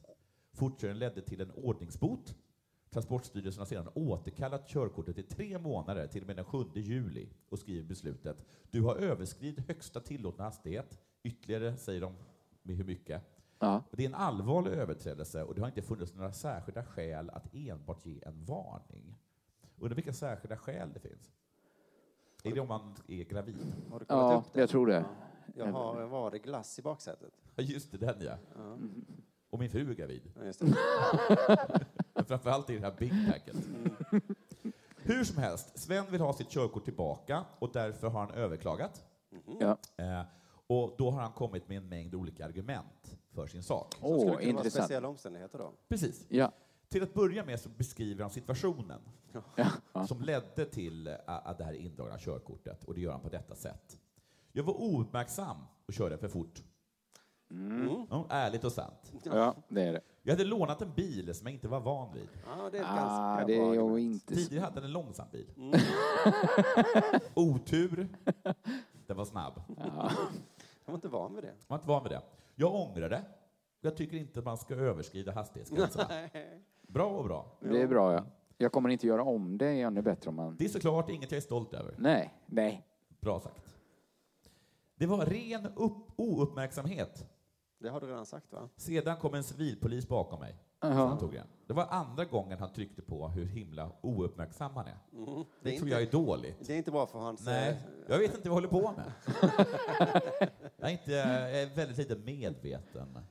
Fortkörningen ledde till en ordningsbot. Transportstyrelsen har sedan återkallat körkortet i tre månader till och med den 7 juli och skriver i beslutet du har överskridit högsta tillåtna hastighet ytterligare, säger de med hur mycket.
Ja.
Det är en allvarlig överträdelse och det har inte funnits några särskilda skäl att enbart ge en varning. Undrar vilka särskilda skäl det finns? Är det om man är gravid?
Har du kollat
Ja,
upp det?
jag tror det.
Jag
Ehm.
har, var det glass i baksätet?
Ja, just det, den ja. Och min fru är gravid.
Mm,
Ja, just det.
Men framförallt i det här big packet. Hur som helst, Sven vill ha sitt körkort tillbaka och därför har han överklagat.
Ja.
Eh, och då har han kommit med en mängd olika argument för sin sak.
Så skulle
Åh,
det kunna vara
intressant.
speciella omständigheter då?
Precis.
Ja.
Till att börja med så beskriver han situationen
ja.
som ledde till eh, att det här indragna körkortet och det gör han på detta sätt. Jag var
Mm.
ouppmärksam och körde för fort. Mm. Ja, ärligt och sant.
ja, det är det.
Jag hade lånat en bil som jag inte var van vid.
det är ett Ah, ganska det är bra jag argument. inte-
Tidigare hade jag en långsam bil.
Mm.
Otur. Den var snabb.
Ja.
Jag var inte van vid det. Jag var inte van vid det. Jag ångrar det. Jag tycker inte att man ska överskrida hastighetsgränserna. Bra och bra.
Det är bra, ja. Jag kommer inte göra om det, är ännu bättre om man...
Det är såklart inget jag är stolt över.
Nej, nej.
Bra sagt. Det var ren upp, ouppmärksamhet.
Det har du redan sagt, va?
Sedan kom en civilpolis bakom mig.
Jaha.
Så han tog igen. Det var andra gången han tryckte på hur himla ouppmärksam han är.
Mm.
Det,
Det är
tror
inte-
jag är dåligt.
Det är inte bra för hans...
Nej,
eh,
jag vet inte vad jag håller på med. jag, är inte, jag är väldigt lite medveten.
hade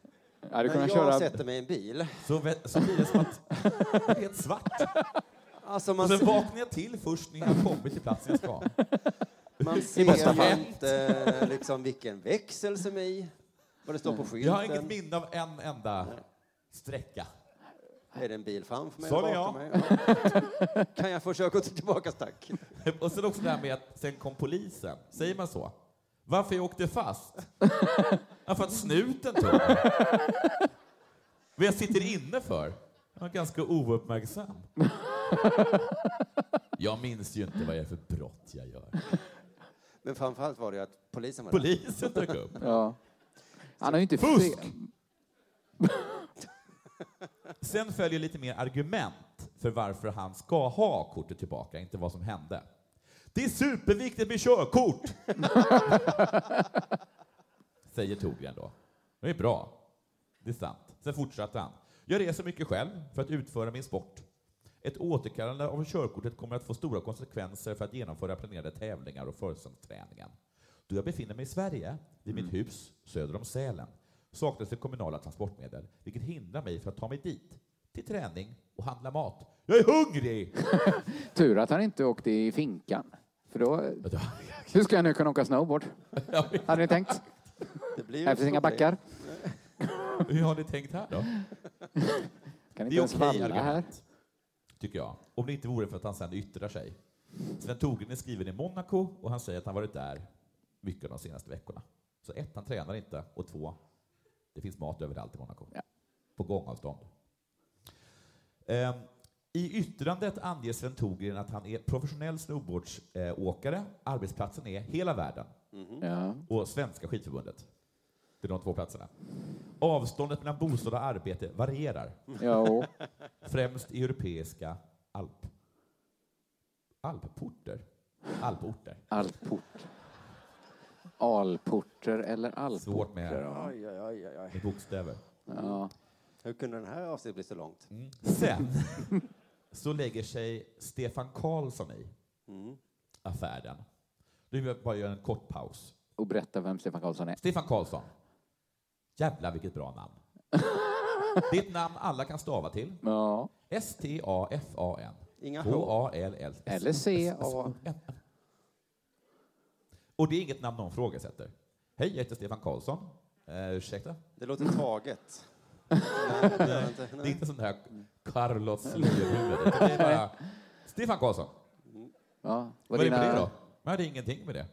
När jag
kunnat köra-
sätter mig i en bil...
Så, vä- så blir det som att det är helt svart.
Alltså
Och
man...
sen vaknar jag till först när jag har kommit till platsen jag ska.
Man
I bästa
ser
fall.
ju inte liksom vilken växel som är i, vad det står på skylten.
Jag har inget minne av en enda sträcka.
Är det en bil framför mig?
Så
eller
är
bakom
jag.
mig? Ja. Kan jag få körkortet tillbaka, tack?
Och sen också det här med att sen kom polisen. Säger man så? Varför jag åkte fast? ja, för att snuten tog mig. Vad jag sitter inne för? Jag var ganska ouppmärksam. jag minns ju inte vad det är för brott jag gör.
Men framförallt var det ju att polisen var
Polisen dök upp.
Ja. Han har ju inte...
Fusk!
fel.
Sen följer lite mer argument för varför han ska ha kortet tillbaka, inte vad som hände. Det är superviktigt med körkort! Säger Torbjörn då. Det är bra. Det är sant. Sen fortsatte han. Jag reser mycket själv för att utföra min sport. Ett återkallande av körkortet kommer att få stora konsekvenser för att genomföra planerade tävlingar och försäsongsträningen. Då jag befinner mig i Sverige, vid
Mm.
mitt hus söder om Sälen, saknas det kommunala transportmedel, vilket hindrar mig från att ta mig dit, till träning och handla mat. Jag är hungrig!
Tur att han inte åkte i finkan. För då... Hur ska jag nu kunna åka snowboard? Hade ni tänkt?
Det blir ju liksom
Här finns inga
problem.
backar.
Hur har ni tänkt här då?
Kan inte
det är
ens
okej
valla
argument,
här.
tycker jag. Om det inte vore för att han sen yttrar sig. Sven Togen är skriven i Monaco och han säger att han varit där mycket de senaste veckorna. Så ett, han tränar inte och två, det finns mat överallt i Monaco. På gångavstånd. Ehm, I yttrandet anger Sven Togen att han är professionell snowboardsåkare. Arbetsplatsen är hela världen
Ja.
och Svenska skidförbundet. Det är de två platserna. Avståndet mellan bostad och arbete varierar.
Ja.
Främst i europeiska alp... alpporter. Alporter.
Alport. Alporter eller alporter.
Svårt med-
ja.
Oj, oj, oj, oj,
Med
oj.
bokstäver.
Ja. Mm.
Hur kunde den här avsnittet bli så långt?
Sen så lägger sig Stefan Karlsson i affären. Nu vill jag bara göra en kort paus.
Och berätta vem Stefan Karlsson är.
Stefan Karlsson. Jävlar vilket bra namn. Det är ett namn alla kan stava till.
Ja.
S-T-A-F-A-N.
Inga H.
H-A-L-L.
Eller C-A.
Och det är inget namn någon ifrågasätter. Hej, jag heter Stefan Karlsson. Eh, ursäkta?
Det låter taget. Nej,
Det
det gör jag inte.
är
Nej.
inte sån där Carlos
Mm.
Lövhuvud. utan Det är bara Stefan Karlsson.
Ja.
Vad är det med det då? Nej, det är ingenting med det.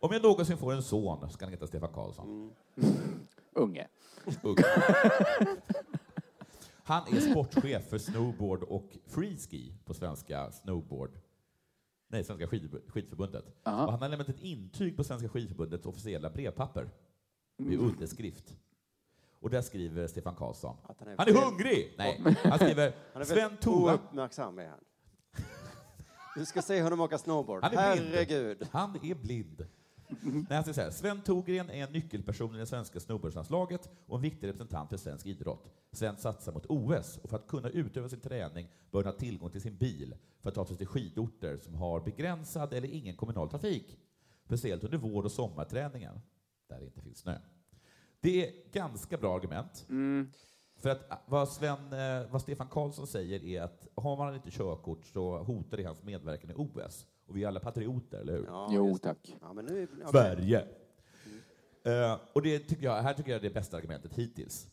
Om jag någonsin får en son ska han heta Stefan Karlsson.
Mm. Unge.
Ugg. Han är sportchef för snowboard och freeski på Svenska snowboard Nej, Svenska skid, skidförbundet. Och han har lämnat ett intyg på Svenska skidförbundets officiella brevpapper med underskrift. Och där skriver Stefan Karlsson. Han
han är
är,
väl-
hungrig! Nej, han skriver
Han är
Sven
väldigt
Tova.
ouppmärksam är han. Du ska se honom åka snowboard.
Han är blind.
Herregud.
Han är blind. Nej, jag ska säga, Sven Togren är en nyckelperson i det svenska snowboardlandslaget och en viktig representant för svensk idrott. Sven satsar mot OS och för att kunna utöva sin träning bör han ha tillgång till sin bil för att ta sig till skidorter som har begränsad eller ingen kommunal trafik, speciellt under vår och sommarträningen där det inte finns snö. Det är ganska bra argument. För att ah, vad, Sven, eh, vad Stefan Karlsson säger är att har man inte körkort så hotar det hans medverkan i OS. Och vi är alla patrioter, eller hur?
Ja,
Jo,
just-
tack.
Ja, men nu, är- okej.
Sverige. Eh, och det tycker jag, här tycker jag det är bästa argumentet hittills.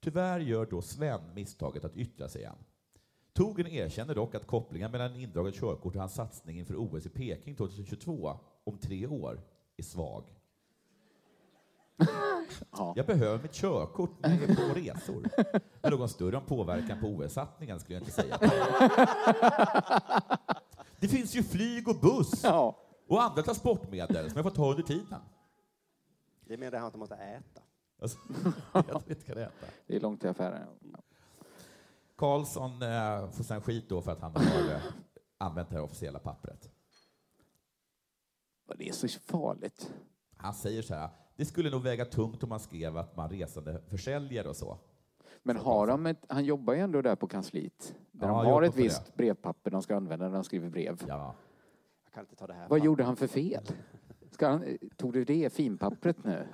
Tyvärr gör då Sven misstaget att yttra sig igen. Togen erkänner dock att kopplingen mellan indraget körkort och hans satsning inför OS i Peking 2022 om tre år är svag. Jag behöver mitt körkort när jag är på resor. Men någon större påverkan på OS-satsningen skulle jag inte säga. Det finns ju flyg och buss och andra transportmedel som jag får ta under tiden.
Det är mer det här att de måste äta.
Alltså, jag vet inte vad det heter.
Det är långt till affären.
Karlsson eh, får sen skit då för att han har eh, använt det här officiella pappret.
Det är så farligt.
Han säger så här, det skulle nog väga tungt om man skrev att man resande försäljare och så.
Men har de ett, han jobbar ju ändå där på kansliet. Där de
Ja, jag
har
jobbar
ett
på det.
visst brevpapper de ska använda när de skriver brev.
Jag kan inte ta det här.
Vad gjorde han för fel? Ska han, tog du det finpappret nu?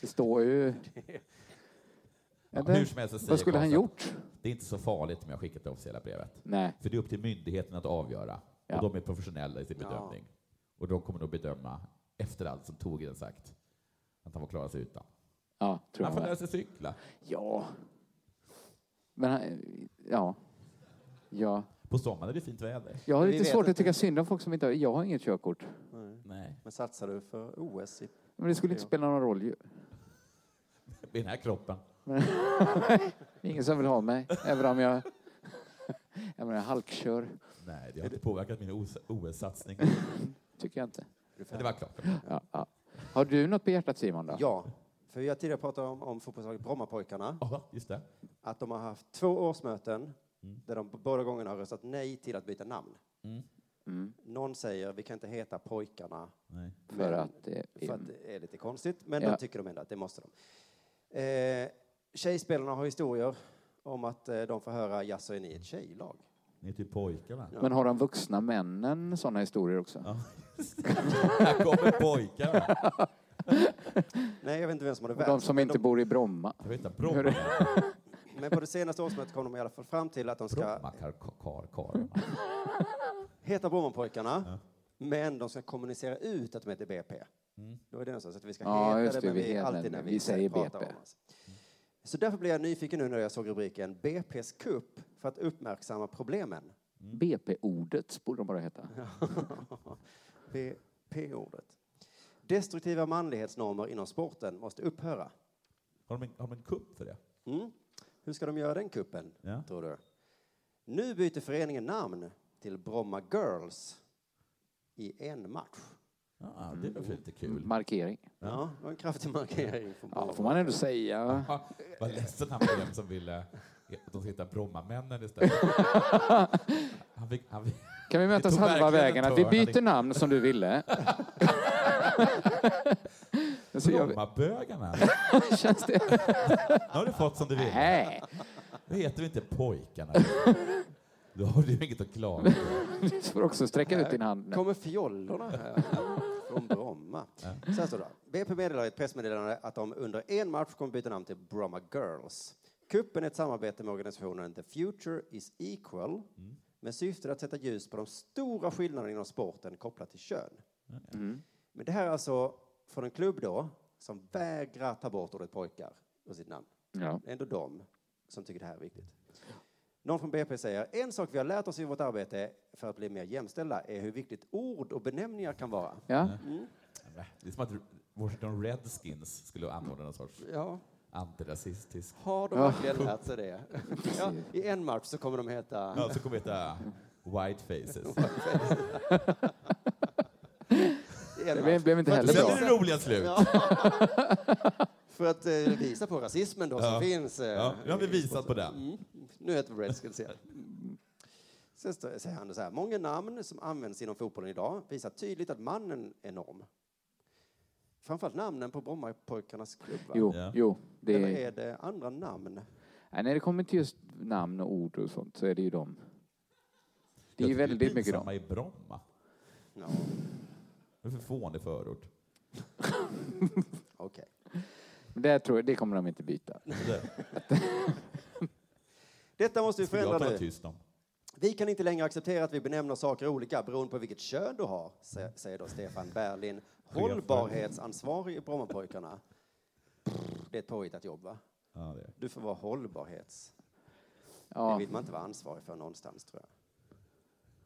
Det står ju...
Ja,
Eller?
hur som helst så säger
Vad skulle han
Karlsson,
gjort?
Det är inte så farligt om jag skickat det officiella brevet.
Nej.
För det är upp till myndigheten att avgöra.
Ja.
Och de är professionella i sin
Ja.
bedömning. Och de kommer nog bedöma efter allt som Torgren sagt att han får klara sig utan.
Ja, tror jag
han får
med.
lära sig cykla.
Ja. Men han, ja. ja.
På sommaren är det fint väder.
Jag har
Vi
lite
vet
svårt att
inte.
tycka synd om folk som inte har... Jag har inget körkort.
Nej.
Men satsar du för OS? I...
Men det skulle inte spela någon roll ju.
Med den här kroppen.
Men- Det är ingen som vill ha mig, även om jag... Jag menar, halkkör.
Nej, det har inte påverkat min OS OS-satsning.
Tycker jag inte.
Men det var klart.
Ja, ja. Har du något på hjärtat Simon? Då?
Ja, för vi har tidigare pratat om, om fotbollslaget Brommapojkarna.
just det.
Att de har haft två årsmöten där de båda gångerna har röstat nej till att byta namn.
Mm.
Någon säger vi kan inte heta pojkarna
Nej.
För att det är-
för att det är lite konstigt, men
Ja.
då tycker de ändå att det måste de. Eh, tjejspelarna har historier om att eh, de får höra jaså är ni ett tjejlag?
Ni är typ pojkarna.
Men har de vuxna männen sådana historier också?
Här kommer pojkarna.
Nej, jag vet inte vem som hade
Och de
värst,
som
men
inte bor i Bromma.
Jag vet inte,
Hur-
Bromma.
Men på det senaste årsmötet kom de i alla fall fram till att de ska
Bromma kar, kar, kar.
heta Brommapojkarna, men de ska kommunicera ut att de heter BP. Då är det någonstans att vi ska
Ja,
heta
just
det,
det,
men
vi
vi,
heter
alltid
det.
när vi,
Vi säger
pratar
BP.
om oss. Så därför blev jag nyfiken nu när jag såg rubriken BP's kupp för att uppmärksamma problemen.
BP-ordet borde de bara heta.
BP-ordet. Destruktiva manlighetsnormer inom sporten måste upphöra.
Har de en, har de en kupp för det?
Mm. Hur ska de göra den kuppen,
Ja.
tror du? Nu byter föreningen namn till Bromma Girls i en match.
Ja, det var lite kul.
Markering.
Ja, det var en kraftig markering. från
Ja,
båda.
får man ändå säga.
Ja, Vad ledsen han blev som ville att de ska hitta Brommamännen istället. Han fick, han fick,
Kan vi mötas
Det tog
halva vägen?
verkligen en
Att vi
törn. Han
byter namn som du ville. Men så gör vi-
Brommabögarna.
Känns det?
Nu har du fått som du vill.
Nej.
Nu heter vi inte pojkarna. Då har du inget att klaga på.
Du får också sträcka ut din hand. nu.
kommer fjollorna här från Bromma. Så här står det. BP meddelar i ett pressmeddelande att de under en match kommer byta namn till Bromma Girls. Kuppen är ett samarbete med organisationen The Future is Equal
Mm.
med syftet att sätta ljus på de stora skillnaderna inom sporten kopplat till kön. Men det här är alltså från en klubb då som vägrar ta bort ordet pojkar ur sitt namn.
Ja.
Det är ändå de som tycker det här är viktigt. Någon från BP säger en sak vi har lärt oss i vårt arbete för att bli mer jämställda är hur viktigt ord och benämningar kan vara.
Ja.
Det är som att Washington Redskins skulle anordna någon sorts
Ja.
antirasistisk...
Har de
Ja.
verkligen lärt sig det? Ja, I en match så kommer de heta...
Ja, så kommer det heta White Faces.
I en
Det
match.
blev inte
För att
heller
visa-
bra. Det blir roliga slut.
Ja. För att eh, visa på rasismen då
Ja.
som finns. eh,
Ja, nu har vi
i-
visat på den.
Mm. Nu heter vi Redskins igen. Sen står- säger han så här. Många namn som används inom fotbollen idag visar tydligt att mannen är norm. Framförallt namnen på Brommapojkarnas klubb. va?
Jo, jo.
Eller
Det
är
är...
det andra namn?
Nej, när det kommer till just namn och ord och sånt så är det ju dem. Det är ju väldigt mycket dem.
dem. i Bromma.
Ja,
Det är för fånig förort.
okej.
Men Det, tror jag, det kommer de inte byta.
Detta måste vi
Skulle jag
förändra
tala
nu.
tyst om.
Vi kan inte längre acceptera att vi benämner saker olika beroende på vilket kön du har, sä- säger då Stefan Berlin, hållbarhetsansvarig i Brommapojkarna. Det är ett påhittat jobb, va?
Ja, det är.
Du får vara hållbarhets...
Ja.
Det vill man inte vara ansvarig för någonstans, tror jag.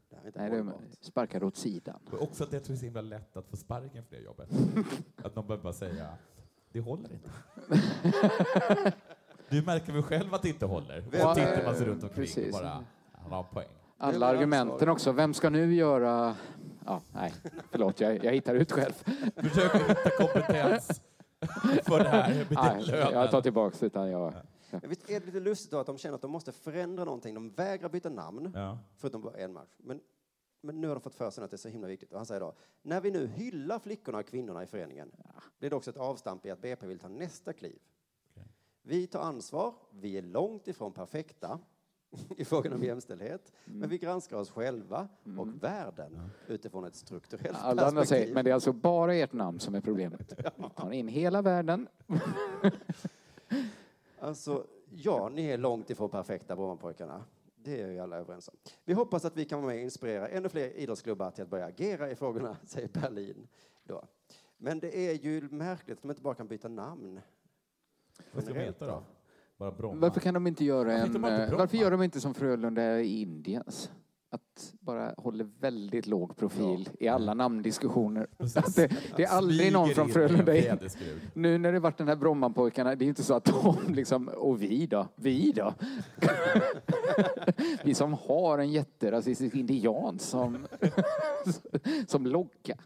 Det här är inte
Nej, de
hållbart.
sparkar åt sidan.
Och också att jag tror det är så himla lätt att få sparken för det jobbet. att någon behöver bara säga, det håller inte. du märker väl själv att det inte håller? Och så
Ja,
tittar man sig
eh,
runt omkring
precis.
och bara, han har en poäng.
Alla argumenten också. Vem ska nu göra... Ja, nej, förlåt, jag, jag hittar ut själv.
Försök att hitta kompetens för det här med
Nej,
lönen.
jag tar tillbaks utan jag...
Men Visst är det lite lustigt då att de känner att de måste förändra någonting. De vägrar byta namn,
Ja.
förutom bara en match. Men, men nu har de fått för sig att det är så himla viktigt. Och han säger då, när vi nu hyllar flickorna och kvinnorna i föreningen ah, blir det också ett avstamp i att BP vill ta nästa kliv. Vi tar ansvar, vi är långt ifrån perfekta i frågan
Mm.
om jämställdhet, men vi granskar oss själva och världen utifrån ett strukturellt
Alla andra säger,
perspektiv.
men det är alltså bara ert namn som är problemet. Vi tar in hela världen.
Alltså, ja, ni är långt ifrån perfekta Brommapojkarna. Det är ju alla överens om. Vi hoppas att vi kan vara med och inspirera ännu fler idrottsklubbar till att börja agera i frågorna, säger Berlin. Då. Men det är ju märkligt att de inte bara kan byta namn.
Vad ska de heta då? Bara Bromma?
Varför kan de inte göra
Varför heter
en...
de inte
eh,
Bromma?
Varför gör de inte som Frölunda i Indiens? Att bara håller väldigt låg profil i alla namndiskussioner. Att det, det är aldrig
Smyger
någon från
in
Frölunda
en
in.
fjäderskrud.
Nu när det varit den här Brommapojkarna, det är inte så att de liksom, och vi då? Vi då? vi som har en jätterasistisk indian som, som logga.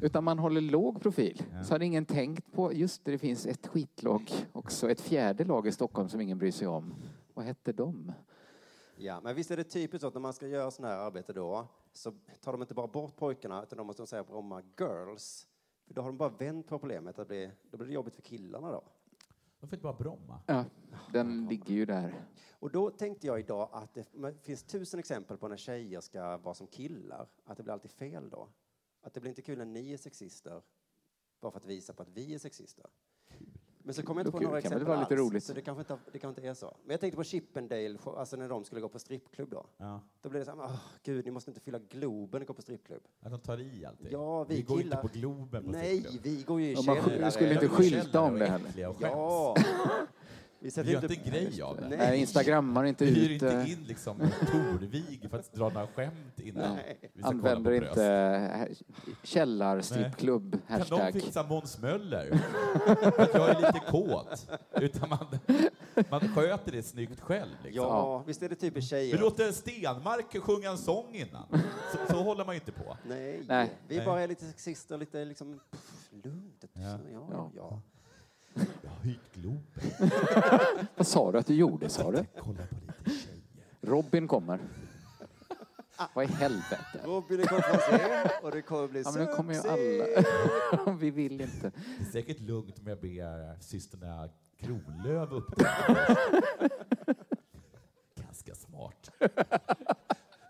Utan man håller låg profil. Så hade ingen tänkt på, just det, det finns ett skitlag också, ett fjärde lag i Stockholm som ingen bryr sig om. Vad hette de?
Ja, men visst är det typiskt så att när man ska göra sådana här arbete då så tar de inte bara bort pojkarna utan de måste säga Bromma Girls. För då har de bara vänt på problemet. Att bli, då blir det jobbigt för killarna då.
Varför inte bara Bromma?
Ja, den ligger ju där.
Och då tänkte jag idag att det men det finns tusen exempel på när tjejer ska vara som killar, att det blir alltid fel då. Att det blir inte kul när ni är sexister, bara för att visa på att vi är sexister. Men så kommer jag inte på
Kul,
några
kan väl
exempel
vara lite
alls,
roligt.
så det kanske, inte, det kanske inte är så. Men jag tänkte på Chippendale, alltså när de skulle gå på strippklubb då.
Ja.
Då blev det så här, "Åh, gud, ni måste inte fylla Globen och gå på strippklubb.
Att de tar i allting?
Ja, vi,
vi går
killar...
inte på Globen på
Nej,
strippklubb.
vi går ju i
Ja, man sk-
källare.
skulle inte
Vi går i
skylta
källare
om det
och är
heller.
äckliga och
Ja.
skäms.
Vi gör
inte-
inte en grej av det.
Nej.
Nej, instagrammar inte
Vi hyr
ut.
inte
eh,
in liksom Torvig för att dra några skämt innan
Nej.
vi ska kolla på
Använder
bröst.
inte eh, källarstrippklubb,
Nej. Kan de
hashtag.
fixa liksom? Måns Möller? Att jag är lite kåt. Utan man, man sköter det snyggt själv. Liksom.
Ja, visst är det typiskt
Vi
tjejer.
låter Stenmark sjunga en sång innan. Så, så håller man ju inte på.
Nej,
Nej.
vi
Nej.
bara är lite sexister, lite liksom pff, lugnt. Ja, ja. ja.
Jag har hyrt Globen.
Vad sa du att du gjorde, sa du? Robin kommer. Vad i helvete?
Robin är konferencier och det kommer bli
Ja, men nu kommer ju
succé.
alla. Vi vill inte.
Det är säkert lugnt om jag ber systrarna Kronlöf uppträda. Ganska smart.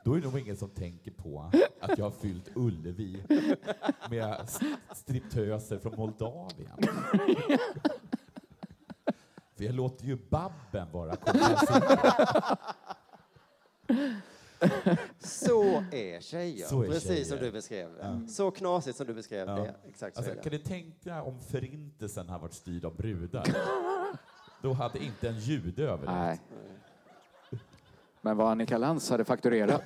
Då är det nog ingen som tänker på att jag har fyllt Ullevi med st- striptöser från Moldavien. För jag låter ju Babben vara
Så är tjejer,
Så är
precis
tjejer.
som du beskrev det. Så knasigt som du beskrev det. Exakt så
alltså,
är det.
Kan du tänka om förintelsen har varit styrd av brudar? Då hade inte en jude överlevt.
Nej. Men vad Annika Lantz hade fakturerat.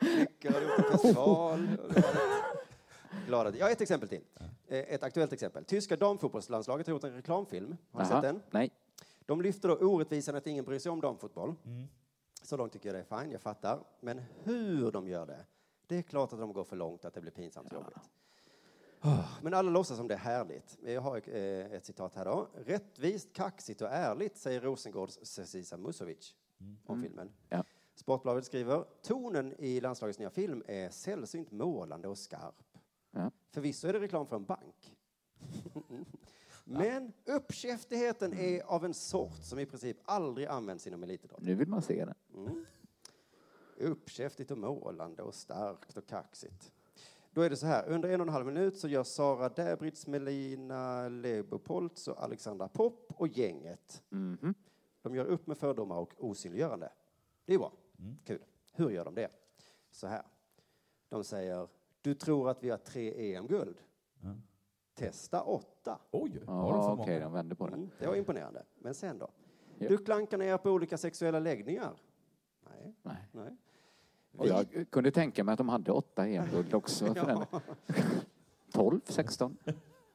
Lycka har gjort en festival. Glada. Jag har ett exempel till. Eh, Ett aktuellt exempel. Tyska damfotbollslandslaget har gjort en reklamfilm. Har ni
Jaha,
sett den?
Nej.
De lyfter då orättvisan att ingen bryr sig om damfotboll. Så långt tycker jag det är fine, jag fattar. Men hur de gör det, det är klart att de går för långt, att det blir pinsamt jobbigt. Ah, Men alla låtsas som det är härligt. Jag har eh, ett citat här då. Rättvist, kaxigt och ärligt, säger Rosengårds Cecilia Musovic
Mm.
om filmen. Sportbladet skriver, tonen i landslagets nya film är sällsynt målande och skarp.
Ja.
Förvisso är det reklam för en bank. Men uppkäftigheten är av en sort som i princip aldrig används inom elitidrott.
Nu vill man se den.
Mm. Uppkäftigt och målande och starkt och kaxigt. Då är det så här, under en och en halv minut så gör Sara Däbrits, Melina Lebopoltz och Alexandra Popp och gänget. De gör upp med fördomar och osynliggörande. Det är bra. Kul. Hur gör de det? Så här. De säger, du tror att vi har tre EM-guld? Testa åtta.
Oj,
Ja, okej, de vänder på det.
Mm, det var imponerande. Men sen då? Du klankar ner på olika sexuella läggningar. Nej.
Nej.
Nej.
Och jag kunde tänka mig att de hade åtta EM-guld också. För den.
Ja.
12, 16.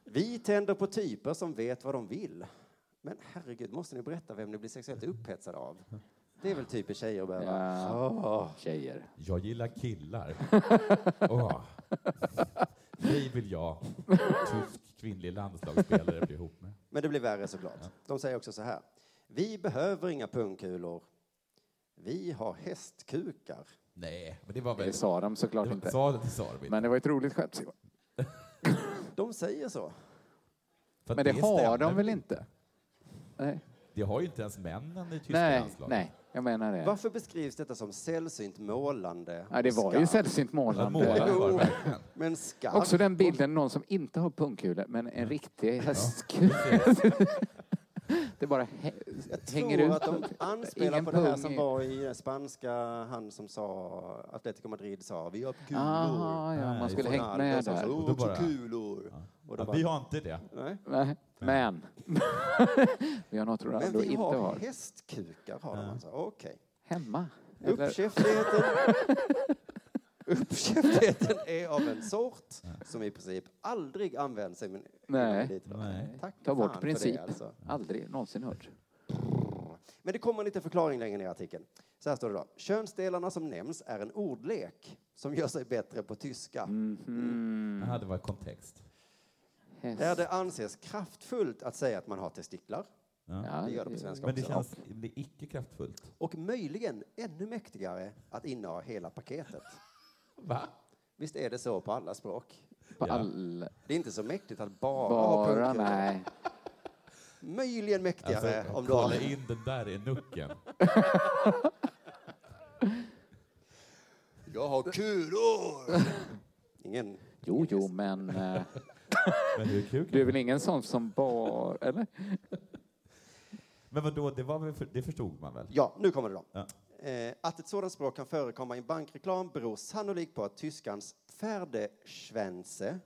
Vi tänder på typer som vet vad de vill. Men herregud, måste ni berätta vem ni blir sexuellt upphetsade av? Det är väl typer tjejer att behöva.
Ja, tjejer.
Jag gillar killar. Åh. Dig vill jag, tysk kvinnlig landslagsspelare, bli ihop med.
Men det blir värre såklart. De säger också så här. Vi behöver inga pungkulor. Vi har hästkukar.
Nej, men det var väl...
Det sa de såklart
det,
inte.
Sa, det sa de inte.
Men det var ett roligt skämt. Simon.
De säger så.
För att
Men det har de
stämmer.
väl inte? Nej.
Det har ju inte ens männen i tyska
Nej,
landslaget.
nej, jag menar det.
Varför beskrivs detta som sällsynt målande?
Ja, det
och
var
skarpt?
ju sällsynt målande.
Jo,
var
men skarpt.
Också den bilden, någon som inte har pungkulor, men en riktig hästkula. det bara hä- hänger
tror
ut.
att de anspelar
Ingen
på det här
pung
som
i-
var i den spanska, han som sa, Atletico Madrid sa, vi har kulor.
Ah, ja, man skulle
Och
hängt med
Ronaldo sa
där.
så,
Och då
"Åh, så
bara-
kulor. Och då
Ja,
bara,
vi har inte det.
nej.
Nej, Men. vi har något
Men
Ronaldo
vi
inte
har,
har.
hästkukar, har de alltså. Okej.
Hemma. Eller-
Uppkäftigheten... Uppkäftigheten är av en sort som i princip aldrig används i min
Nej.
i min-
Nej.
Tack
Ta
fan
bort
för det,
princip.
alltså.
Aldrig någonsin hört.
Men det kommer en liten förklaring längre ner i artikeln. Så här står det då. Könsdelarna som nämns är en ordlek som gör sig bättre på tyska.
Mhm. Mm.
Jaha, det var kontext.
Häst.
Där det anses kraftfullt att säga att man har testiklar.
Ja,
Det gör det på svenska
Men det
också.
känns det är icke kraftfullt.
Och möjligen ännu mäktigare att inneha hela paketet.
Va?
Visst är det så på alla språk?
På
Ja.
alla...
Det är inte så mäktigt att bara, ha
Bara
pungkulor.
nej.
Möjligen mäktigare
Alltså,
om du har...
kolla in den där i nucken.
Jag har kulor! Ingen...
Jo, jo, men eh,
Men hur kul?
du är väl ingen sån som bara... Eller?
Men vadå, det, var väl för, det förstod man väl?
Ja, nu kommer det då.
Ja.
Eh, att ett sådant språk kan förekomma i en bankreklam beror sannolikt på att tyskans Pferdeschwänze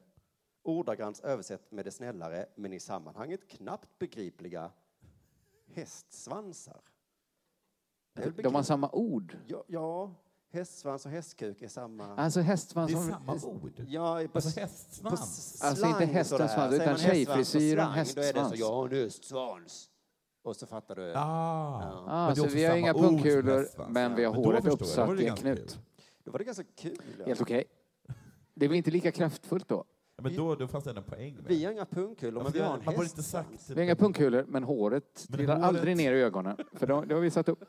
ordagrant översatt med det snällare, men i sammanhanget knappt begripliga, hästsvansar. Det är väl
De har
begripligt.
samma ord.
Ja, ja, hästsvans och hästkuk är samma...
Alltså hästsvans...
Det är
som-
samma ord.
Ja, på,
Alltså
på
hästsvans.
slang
Alltså, inte hästens
står det här.
svans,
Säger
utan
man
tjejfrisyren,
hästsvans och slang, Då är det
hästsvans.
så, jag har en hästsvans. Och så fattar du.
Ah.
Ah,
Men det är
så
också
vi har
samma
inga
ord som
pungkulor,
hästsvans.
men vi har
Men då
håret
förstår jag. Då var
uppsatt
det
i en
ganska
knut.
kul.
Då var det ganska kul. ja.
Helt okej. Det blir inte lika kraftfullt då.
Ja, men då, då fanns det ändå en poäng med
Vi
det.
har inga pungkulor,
Ja,
men
för
vi har en
Man borde
häst.
inte sagt...
Vi har inga pungkulor, men håret
Men
trillar
håret-
aldrig ner i ögonen. För de, det har vi satt upp.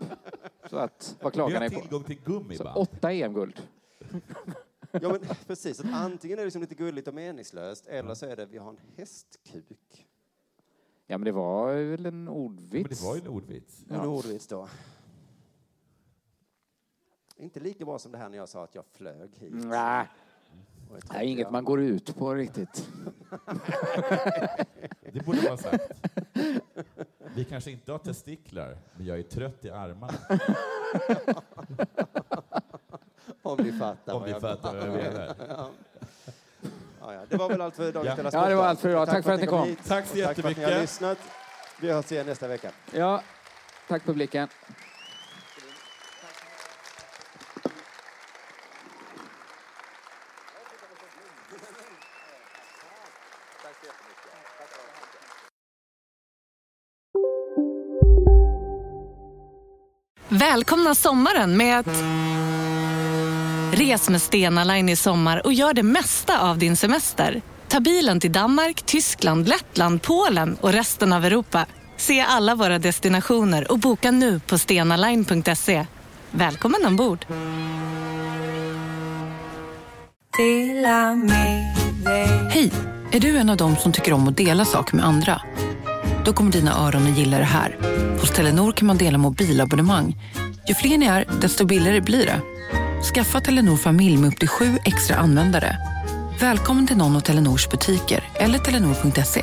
Så att, vad
Vi
klagar
har
ni på?
tillgång till gummiband.
Så åtta EM-guld.
Ja, men precis. Att antingen är det liksom lite gulligt och meningslöst, eller så är det vi har en hästkuk.
Ja, men det var väl en
Ja, Men det
ordvits?
var ju en ordvits.
En ordvits då. Inte lika bra som det här när jag sa att jag flög hit.
Nej,
Och jag
det är
tänkte,
inget
ja,
man går ut på riktigt.
Det borde man ha sagt. Vi kanske inte har testiklar, men jag är trött i armarna.
Om ni fattar
Om
vad
ni
jag
fattar vad jag menar.
Ja, ja. Det var väl allt för dagens
Ja.
Della
Ja,
Sport
det var
då.
allt för idag. Tack för att ni kom.
hit.
Tack så
Tack för att ni har
jättemycket.
lyssnat. Vi hörs igen nästa vecka.
Ja, tack publiken.
Välkomna sommaren med att... Res med Stena Line i sommar och gör det mesta av din semester. Ta bilen till Danmark, Tyskland, Lettland, Polen och resten av Europa. Se alla våra destinationer och boka nu på stenaline.se. Välkommen ombord! Hej! Är du en av dem som tycker om att dela saker med andra? Då kommer dina öron att gilla det här. Hos Telenor kan man dela mobilabonnemang. Ju fler ni är, desto billigare blir det. Skaffa Telenor familj med upp till sju extra användare. Välkommen till någon av Telenors butiker eller telenor.se.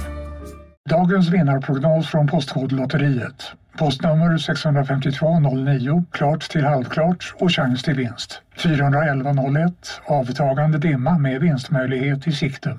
Dagens vinnarprognos från Postkodlotteriet. Postnummer 65209, klart till halvklart och chans till vinst. 41101, avtagande dimma med vinstmöjlighet i sikte.